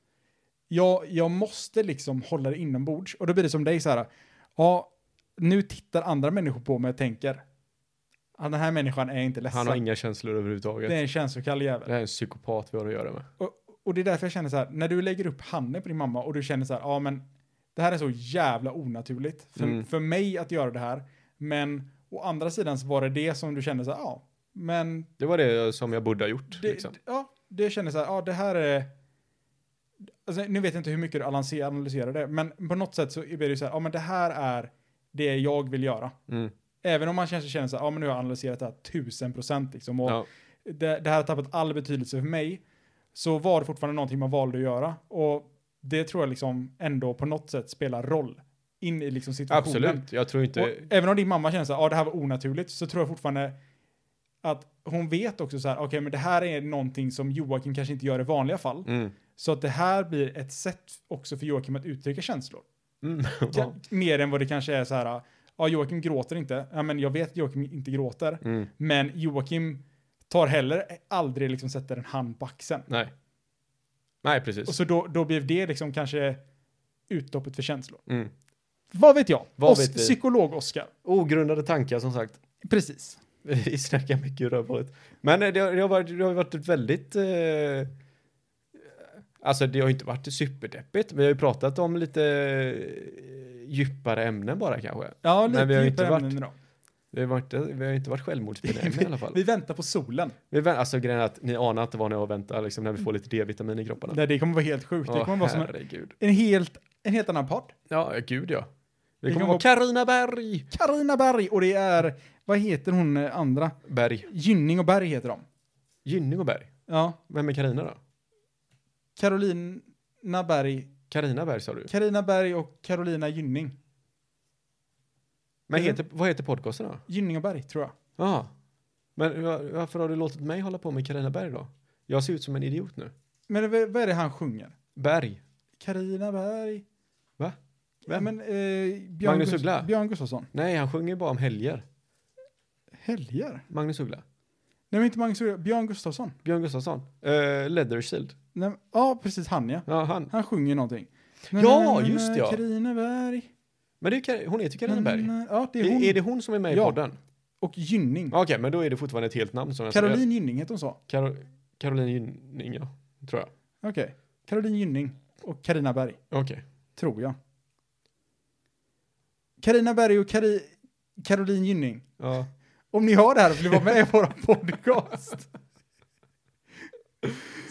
A: Jag, jag måste liksom hålla det inombords och då blir det som dig så här, ja, nu tittar andra människor på mig och tänker, "Ah, den här människan är inte ledsen.
C: Han har inga känslor överhuvudtaget.
A: det är en känslokall jävel.
C: Det här är en psykopat vi har att göra med.
A: Och, och det är därför jag känner så här, när du lägger upp handen på din mamma och du känner så här, ja men det här är så jävla onaturligt för,
C: Mm.
A: för mig att göra det här, men å andra sidan så var det det som du kände så här, ja, men
C: Det var det eh, som jag borde ha gjort.
A: det,
C: liksom.
A: d- ja, det kändes så här, ja det här är, alltså, nu vet jag inte hur mycket du analyser- analyserar det, men på något sätt så blir det ju så här, ja men det här är det jag vill göra.
C: Mm.
A: Även om man kanske känner så här, ja men nu har jag analyserat det här tusen procent liksom, och
C: Ja.
A: det, det här har tappat all betydelse för mig, så var det fortfarande någonting man valde att göra. Och det tror jag liksom ändå på något sätt spelar roll in i liksom situationen.
C: Absolut, jag tror inte...
A: Och även om din mamma känner så här, ja det här var onaturligt, så tror jag fortfarande att hon vet också så här, okej men det här är någonting som Joakim kanske inte gör i vanliga fall.
C: Mm.
A: Så att det här blir ett sätt också för Joakim att uttrycka känslor.
C: Mm.
A: Ja. Mer än vad det kanske är så här, ja Joakim gråter inte, ja men jag vet att Joakim inte gråter.
C: Mm.
A: Men Joakim tar heller aldrig liksom sätter en hand på axeln.
C: Nej. Nej, precis.
A: Och så då, då blev det liksom kanske utloppet för känslor.
C: Mm.
A: Vad vet jag?
C: Vad
A: Os-
C: vet vi?
A: Psykolog-Oskar.
C: Ogrundade tankar som sagt.
A: Precis.
C: Vi snackar mycket rövhålet. Men eh, det har, det har, varit, det har varit ett väldigt... Eh, alltså det har ju inte varit superdeppigt. Vi har ju pratat om lite eh, djupare ämnen bara kanske.
A: Ja,
C: Nej,
A: lite
C: vi har ju
A: djupare
C: inte varit-
A: ämnen idag.
C: Vi har, inte, vi har ju inte varit självmordsbenägna i alla fall.
A: Vi väntar på solen.
C: Vi, vä- alltså grejen är att ni anar inte vad ni har att vänta liksom, när vi får lite D-vitamin i kropparna.
A: Nej, det kommer vara helt sjukt. Det
C: Åh,
A: kommer vara som en,
C: herregud.
A: en, helt, en helt annan podd.
C: Ja, gud ja. Det,
A: Det
C: kommer
A: kan
C: vara Carina Berg.
A: Karina Berg och det är, vad heter hon eh, andra?
C: Berg.
A: Gynning och Berg heter de.
C: Gynning och Berg.
A: Ja,
C: Vem är Carina då?
A: Carolina Berg.
C: Carina Berg sa du.
A: Carina Berg och Carolina Gynning.
C: Men
A: Carina-
C: heter, vad heter podcasten då?
A: Gynning och Berg tror jag.
C: Ja. Men va- varför har du låtit mig hålla på med Carina Berg då? Jag ser ut som en idiot nu.
A: Men v- vad är det han sjunger?
C: Berg.
A: Carina Berg.
C: Va?
A: Ja,
C: Vem?
A: men, eh, Björn
C: Magnus
A: Gust-
C: Uggla?
A: Björn Gustafsson.
C: Nej, han sjunger bara om helger.
A: Helger?
C: Magnus Uggla.
A: Nej, men inte Magnus Uggla. Björn Gustafsson.
C: Björn Gustafsson. Uh, Leathershield.
A: Nej, men- ja, precis han ja.
C: Ja, han.
A: Han sjunger någonting.
C: Ja, just det, ja.
A: Carina Berg.
C: Men det är, ju Kar- hon heter ju Carina Berg.
A: Na, na, Ja, Mm, det
C: Är,
A: är hon.
C: är det hon som är med
A: Ja.
C: i podden?
A: Och Gynning.
C: Okej, men då är det fortfarande ett helt namn som jag säger.
A: Caroline Gynning heter hon så.
C: Karo- Caroline Gynning, ja. Tror jag.
A: Okej. Caroline Gynning och Carina Berg.
C: Okej.
A: Tror jag. Carina Berg och Cari- Caroline Gynning.
C: Ja.
A: Om ni hör det här och vill vara med i våran podcast.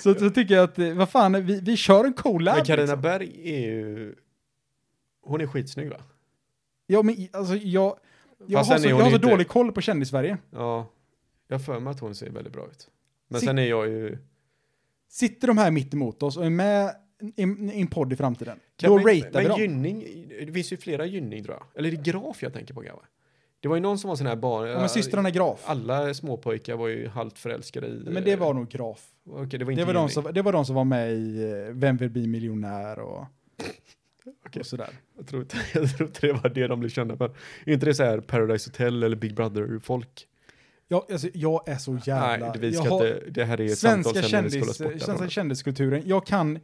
A: Så, så tycker jag att, eh, vad fan, vi, vi kör en collab.
C: Men Carina
A: liksom.
C: Berg är ju... Hon är skitsnygg va?
A: Ja, men i- alltså jag, jag
C: Fast
A: har,
C: sen
A: så,
C: är
A: jag
C: hon
A: har så
C: inte-
A: dålig koll på kändis-Sverige.
C: Ja. Jag har för mig att hon ser väldigt bra ut. Men
A: Sick.
C: sen är jag ju...
A: Sitter de här mitt emot oss och är med i i en podd i framtiden,
C: Kan
A: då
C: vi-
A: ratear vi
C: Men
A: dem.
C: Gynning, det finns ju flera Gynning tror jag. Eller är det Graf jag tänker på grabbar? Det var ju någon som var sån här barn...
A: Ja, men systrarna Graf.
C: Alla småpojkar var ju halvt förälskade i...
A: Men det var nog Graf.
C: Okej, det var inte
A: Det var, de
C: Gynning.
A: som, det var de som var med i eh, Vem vill bli miljonär och, och sådär.
C: Jag tror, inte, jag tror inte det var det de blev kända för. Är inte det så här Paradise Hotel eller Big Brother-folk?
A: Jag, alltså, jag är så jävla...
C: Nej, vi ska
A: jag har-
C: inte... Det här är ett
A: Svenska,
C: samtal sen när vi
A: kändis,
C: skulle ha sportat
A: svenska
C: varandra.
A: kändiskulturen. Jag kan,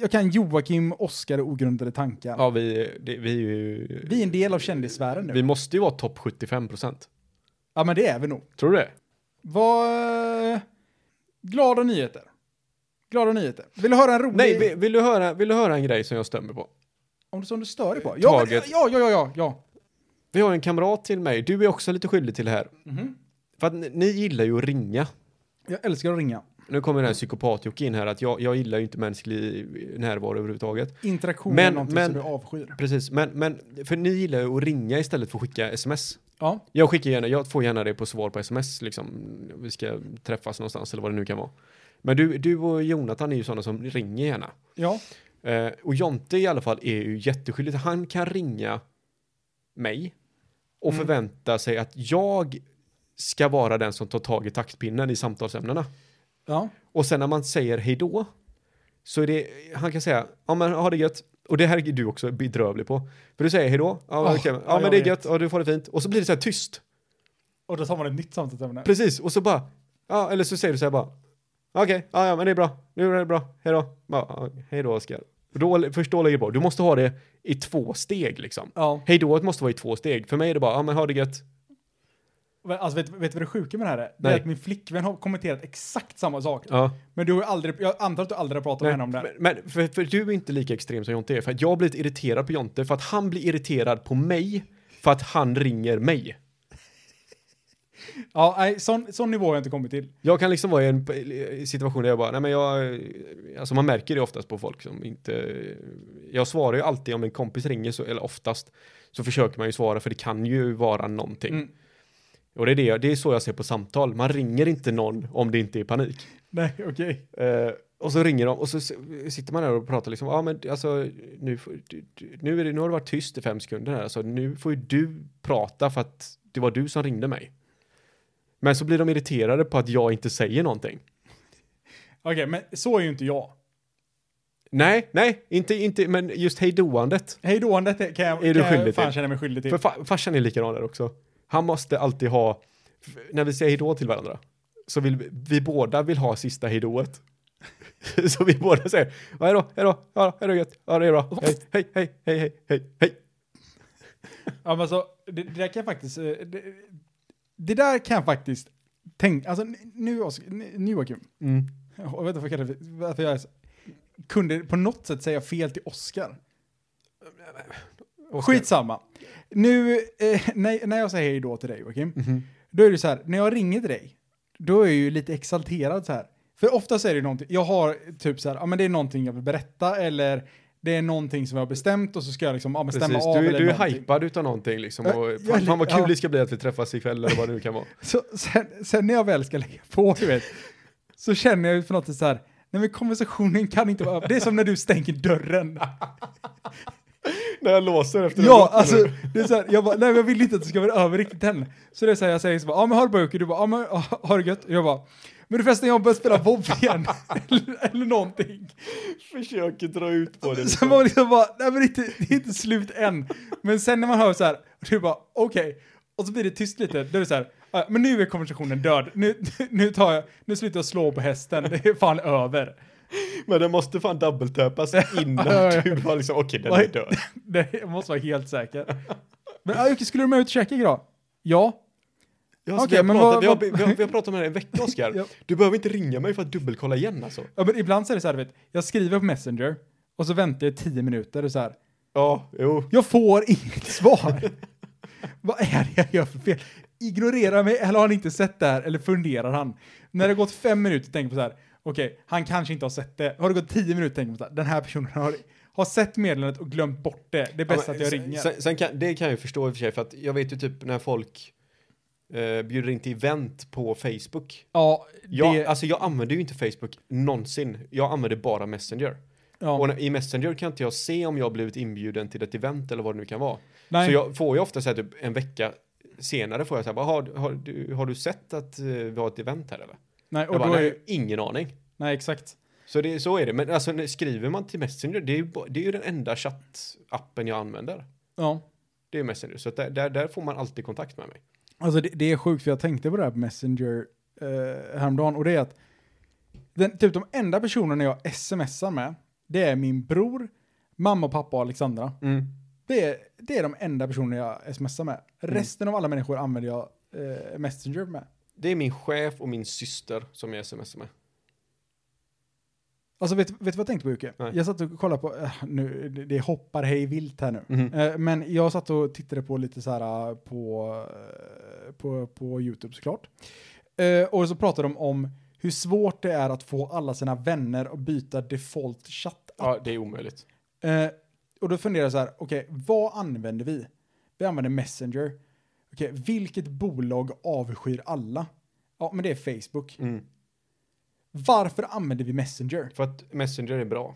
A: jag kan Joakim, Oscar och ogrundade tankar.
C: Ja, vi, det, vi är ju...
A: Vi är en del av kändissfären nu.
C: Vi måste ju vara topp 75 procent.
A: Ja, men det är vi nog.
C: Tror du det?
A: Vad... Glada nyheter. Glada nyheter. Vill du höra en rolig...
C: Nej, vi- vill du, höra, vill du höra en grej som jag stämmer på?
A: Om du, som du stör dig på? Ja, men, ja,
C: Taget.
A: ja, ja, ja, ja.
C: Vi har en kamrat till mig, du är också lite skyldig till det här. För att ni, ni gillar ju att ringa.
A: Mhm. Jag älskar att ringa.
C: Nu kommer den här psykopat in här, att jag, jag gillar ju inte mänsklig närvaro överhuvudtaget.
A: Interaktion
C: Men-
A: är någonting
C: men-
A: som du avskyr.
C: Precis, men, men för ni gillar ju att ringa istället för att skicka sms.
A: Ja,
C: Jag skickar gärna, jag får gärna det på svar på sms liksom. Vi ska träffas någonstans eller vad det nu kan vara. Men du, du och Jonathan är ju sådana som ringer gärna.
A: ja,
C: Eh, och Jonte i alla fall är ju jätteskyldig. Han kan ringa mig och
A: Mm.
C: förvänta sig att jag ska vara den som tar tag i taktpinnen i samtalsämnena.
A: ja.
C: Och sen när man säger hej då så är det, han kan säga, ja men ha det gött. Och det här är du också bedrövlig på. För du säger hej då, ja,
A: Ah,
C: okej, ja,
A: ja,
C: men
A: jag
C: det är
A: vet.
C: gött, ja, du får det fint. Och så blir det så här tyst.
A: Och då tar man ett nytt samtalsämne.
C: Precis, och så bara, ja, eller så säger du så här bara, okej, ja, ja, men det är bra, nu är det bra, hej då. Bara, ja, Hej då Oskar. För Då, först då lägger du på. Du måste ha det i två steg liksom.
A: Ja.
C: Hejdået måste vara i två steg. För mig är det bara, ja men ha det gött.
A: Men Alltså vet, vet du vad det sjuka med det här är? Det
C: Nej.
A: är att min flickvän har kommenterat exakt samma sak.
C: Ja.
A: Men du har ju aldrig, jag antar att du aldrig har pratat med henne om det.
C: Men, men för, för du är inte lika extrem som Jonte är. För att jag blir irriterad på Jonte för att han blir irriterad på mig för att han ringer mig.
A: Ja, nej, sån, sån nivå har jag inte kommit till.
C: Jag kan liksom vara i en p- situation där jag bara, nej men jag, alltså man märker det oftast på folk som inte, jag svarar ju alltid om en kompis ringer, så, eller oftast, så försöker man ju svara för det kan ju vara någonting.
A: Mm.
C: Och det är, det, jag- det är så jag ser på samtal, man ringer inte någon om det inte är panik.
A: Nej, okej.
C: Eh, och så ringer de och så s- sitter man där och pratar liksom, ja ah, men alltså nu, får- du- du- nu, är det, nu har du varit tyst i fem sekunder här, så nu får ju du prata för att det var du som ringde mig. Men så blir de irriterade på att jag inte säger någonting.
A: Okej, men så är ju inte jag.
C: Nej, nej, inte, inte, men just hejdoandet.
A: Hejdåandet är- kan jag,
C: Är du
A: kan jag
C: skyldig
A: fan
C: till?
A: känna mig skyldig till.
C: För fa farsan är likadan där också. Han måste alltid ha, f- när vi säger hejdå till varandra, så vill vi, vi båda vill ha sista hejdået. så vi båda säger, ja, hejdå, hejdå, ja, hejdå gött, ja det är bra, hej, hej, hej, hej, hej, hej, hej.
A: Ja, men så, det, det där kan jag faktiskt... eh, Det, det där kan jag faktiskt tänka... Alltså, n- nu, Oskar- n- nu Joakim.
C: Mm.
A: Jag vet inte vad jag kallar det för- varför jag är så, kunde på något sätt säga fel till Oskar. Skitsamma. Nu, eh, när, när jag säger hej då till dig Joakim,
C: Mm-hmm.
A: då är det så här, när jag ringer till dig, då är jag ju lite exalterad så här. För ofta så är det ju någonting, jag har typ så här, ja men det är någonting jag vill berätta eller det är någonting som jag har bestämt och så ska jag liksom, ja men stämma
C: Precis,
A: av
C: du,
A: eller
C: är- du är
A: någonting.
C: hypad utav någonting liksom.
A: Ja,
C: Och,
A: jag
C: fan,
A: li-
C: fan vad kul
A: ja.
C: det ska bli att vi träffas ikväll eller vad det nu kan vara.
A: Så sen, sen när jag väl ska lägga på, du vet, så känner jag ju på något sätt så här, nej men konversationen kan inte vara, det är som när du stänger dörren.
C: När jag låser efter
A: Ja, alltså, det är så här, jag bara, nej men jag vill inte att det ska vara över riktigt än. Så det är så här, jag säger så bara, ja men har du bara Jocke? Du bara, ja men ja, har du gött? Jag bara, men du förresten jag börjar spela bob igen. eller, eller någonting.
C: försöker dra ut på det.
A: Sen var det liksom bara, nej men det är inte, det är inte slut än. Men sen när man hör så här, du bara, okej. Och så blir det tyst lite, då är det så här, "Ja, men nu är konversationen död. Nu, nu tar jag, nu slutar jag slå på hästen, det är fan över.
C: Men den måste fan dubbeltäppas
A: Ja, ja.
C: innan du var liksom, okej den
A: Oj.
C: är död.
A: Det, jag måste vara helt säker. Men ja, Jocke, skulle du med ut och käka idag? Ja.
C: Ja, så
A: Okej,
C: vi,
A: men
C: har pratat,
A: vad-
C: vi, har,
A: vad-
C: vi, har, vi har pratat om det här i en vecka, Oskar.
A: Ja.
C: Du behöver inte ringa mig för att dubbelkolla igen alltså.
A: Ja, men ibland så är det så här, du vet, jag skriver på Messenger och så väntar jag 10 minuter och så här,
C: Ja, jo.
A: jag får inget svar. Vad är det jag gör för fel? Ignorerar mig eller har han inte sett det här eller funderar han? När det gått fem minuter tänker jag på så här, okej, han kanske inte har sett det. Har det gått 10 minuter tänker jag på så här, den här personen har, har sett meddelandet och glömt bort det. Det är bäst
C: Ja, men
A: att jag
C: sen-
A: ringer.
C: Sen, sen kan, det kan jag ju förstå i och för sig, för att jag vet ju typ när folk eh, bjuder in till event på Facebook.
A: ja, det,
C: Jag,
A: ja,
C: Alltså jag använder ju inte Facebook någonsin. Jag använder bara Messenger. Och när, i Messenger kan inte jag se om jag har blivit inbjuden till ett event eller vad det nu kan vara.
A: nej,
C: Så jag får ju ofta så här typ en vecka senare får jag så här, bara, har, har, du, har du sett att eh, vi har ett event här eller?
A: nej, och
C: Jag bara,
A: då är,
C: nej, ingen aning.
A: nej, exakt.
C: Så, det, så är det, men alltså när- skriver man till Messenger, det är ju, ba- det är ju den enda chattappen jag använder.
A: Ja.
C: Det är Messenger, så att där, där, där får man alltid kontakt med mig.
A: Alltså det, det är sjukt för jag tänkte på det här på Messenger eh, häromdagen och det är att den, typ de enda personerna jag smsar med det är min bror, mamma och pappa och Alexandra. Det är, det är de enda personerna jag smsar med. Resten av alla människor använder jag eh, Messenger med.
C: Det är min chef och min syster som jag smsar med.
A: Alltså vet, vet du vad jag tänkte på Jocke?
C: Nej.
A: Jag satt och kollade på, eh, nu, det- det hoppar hej vilt här nu.
C: Mhm.
A: Eh, men jag satt och tittade på lite så här eh, på, eh, på, på YouTube såklart. Eh, och så pratade de om hur svårt det är att få alla sina vänner att byta default chatt.
C: Ja, det är omöjligt.
A: Eh, och då funderar jag så här, okej, vad använder vi? Vi använder Messenger. Okej, vilket bolag avskyr alla? Ja, men det är Facebook.
C: Mm.
A: Varför använder vi Messenger?
C: För att Messenger är bra.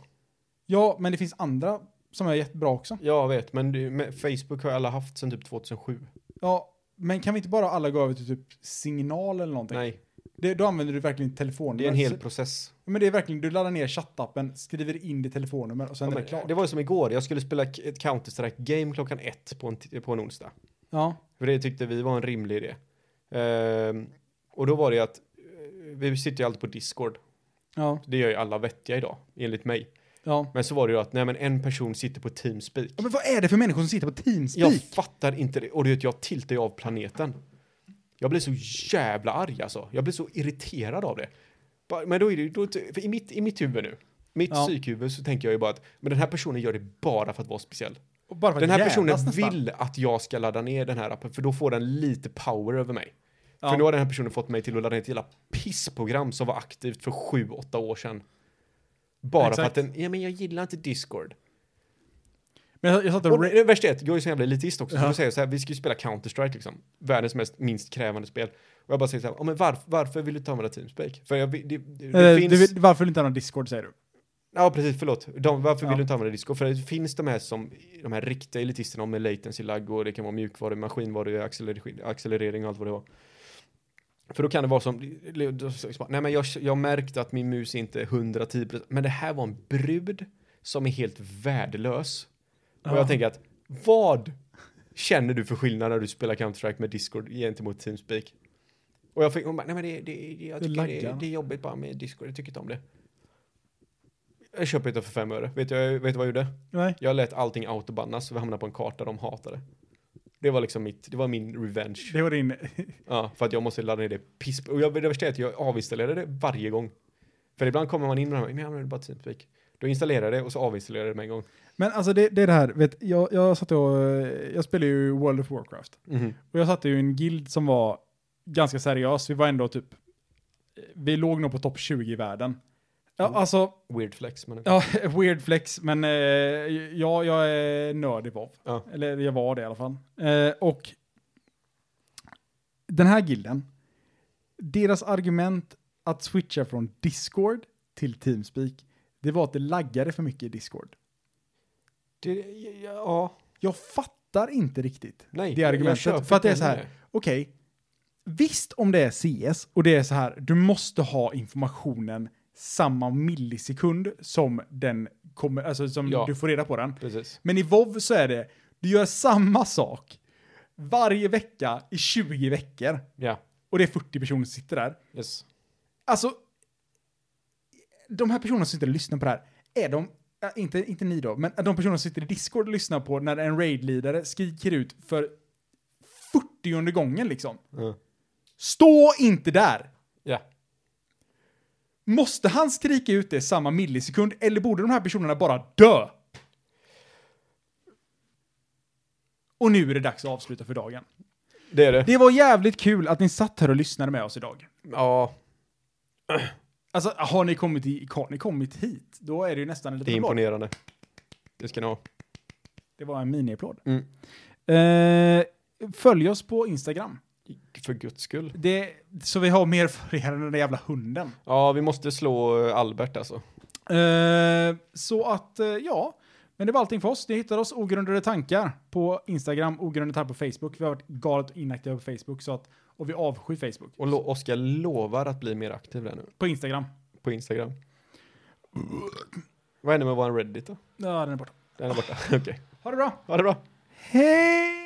A: Ja, men det finns andra som är jättebra också.
C: Jag vet, men du, men Facebook har alla haft sedan typ 2007.
A: Ja, men kan vi inte bara alla gå över till typ signal eller någonting?
C: Nej,
A: Det, då använder du verkligen telefonnummer.
C: det är en hel
A: Så-
C: process.
A: Men det är verkligen, du laddar ner chattappen, skriver in ditt telefonnummer och sen
C: Ja,
A: är det
C: men,
A: klart.
C: det var ju som igår, jag skulle spela k- ett Counter-Strike-game klockan ett på en, t- på en onsdag.
A: Ja,
C: För det tyckte vi var en rimlig idé. Ehm, och då var det att eh, vi sitter ju alltid på Discord.
A: ja,
C: Det gör ju alla vettiga idag, enligt mig.
A: Ja.
C: Men så var det ju att nej men en person sitter på Teamspeak.
A: ja. Men vad är det för människor som sitter på Teamspeak?
C: Jag fattar inte det. Och du vet, jag tiltar ju av planeten. Jag blir så jävla arg alltså. Jag blir så irriterad av det. Bara- Men då är det ju, då, för i mitt, i mitt huvud nu, mitt
A: Ja.
C: psykhuvud så tänker jag ju bara att, men den här personen gör det bara för att vara speciell.
A: Och Bara för att
C: Den här
A: jävlas
C: personen
A: nästan.
C: vill att jag ska ladda ner den här appen, för då får den lite power över mig.
A: Ja.
C: För nu har den här personen fått mig till att ladda ner ett jävla pissprogram som var aktivt för sju, åtta år sedan. Bara för
A: Exakt.
C: att den, ja men jag gillar inte Discord.
A: Men jag, jag satt och...
C: Och
A: ra-
C: det värsta är att jag är så jävla elitist också, så
A: Ja.
C: jag säger så här, vi ska ju spela Counter-Strike liksom. Världens mest, minst krävande spel. Och jag bara säger så här, ja men varf, varför vill du inte använda Teamspeak? För jag, vi- det, det, det
A: Eh,
C: finns...
A: du vill, varför vill du inte ha någon Discord säger du?
C: Ja precis, förlåt. De, varför
A: Ja.
C: vill du inte använda Discord? För det finns de här som, de här riktiga elitisterna med latency lag och det kan vara mjukvaru, maskinvaru, acceler- accelerering och allt vad det var. För då kan det vara som, nej men jag, jag märkte att min mus inte är 110%, men det här var en brud som är helt värdelös. Och
A: Ja.
C: jag tänker att, vad känner du för skillnad när du spelar Counter-Strike med Discord gentemot Teamspeak? Och jag fick, hon bara, nej men det, det, det, jag
A: Det
C: tycker det, det,
A: laggar.
C: är jobbigt bara med Discord, jag tycker inte om det. Jag köper inte för fem öre. Vet du vet du vad jag gjorde?
A: Nej.
C: Jag lät allting autobannas så vi hamnade på en karta de hatade. Det var liksom mitt, det var min revenge.
A: Det var din...
C: Ja, för att jag måste ladda ner det piss. Och jag, det värsta är att jag avinstallerade det varje gång. För ibland kommer man in med de här, men jag använder bara Teamspeak. Då installerar jag det och så avinstallerar jag det med en gång.
A: Men alltså det, det är det här, vet, jag, jag satt och... eh, Jag spelade ju World of Warcraft. Och jag satt ju i en guild som var ganska seriös. Vi var ändå typ, vi låg nog på topp 20 i världen. Ja,
C: Mm.
A: alltså,
C: Weird flex, men
A: ja, weird flex, men eh, ja, jag är nörd i WoW.
C: Ja.
A: Eller jag var det i alla fall. Eh, och den här gilden, deras argument att switcha från Discord till Teamspeak, det var att det laggade för mycket i Discord.
C: det, ja, ja,
A: Jag fattar inte riktigt
C: nej.
A: det
C: jag- jag
A: argumentet.
C: köper
A: För att det är
C: inte
A: så här,
C: heller
A: okej, visst om det är CS och det är så här, du måste ha informationen samma millisekund som den kommer, alltså som
C: Ja.
A: du får reda på den.
C: det. Precis.
A: Men i WoW så är det, du gör samma sak varje vecka i 20 veckor
C: Ja,
A: och det är 40 personer som sitter där.
C: yes.
A: Alltså, de här personerna som sitter och lyssnar på det här, är de, ja, inte, inte ni då, men de personer som sitter i Discord och lyssnar på när en raid-ledare skriker ut för 40 gången liksom.
C: Ja.
A: Stå inte där!
C: Ja.
A: Måste han skrika ut det samma millisekund eller borde de här personerna bara dö? Och nu är det dags att avsluta för dagen.
C: Det är det.
A: Det var jävligt kul att ni satt här och lyssnade med oss idag.
C: Ja,
A: Alltså, har ni kommit, i, har ni kommit hit, då är det ju nästan en
C: det är
A: liten applåd.
C: imponerande. Det ska ni ha.
A: Det var en miniapplåd.
C: Mm.
A: Eh, följ oss på Instagram.
C: För guds skull.
A: Det, så vi har mer följare än den där jävla hunden.
C: Ja, vi måste slå eh, Albert alltså.
A: Eh, så att, eh, ja. Men det var allting för oss. Ni hittar oss ogrundade tankar på Instagram, ogrundade tankar på Facebook. Vi har varit galet inaktiva på Facebook så att, och vi avskyr Facebook.
C: Och lo- Oskar lovar att bli mer aktiv där nu.
A: På Instagram.
C: På Instagram. Vad händer med våran Reddit då?
A: Ja, den är borta.
C: Den är borta. Okej.
A: Ha det bra!
C: Ha det bra.
A: Hej!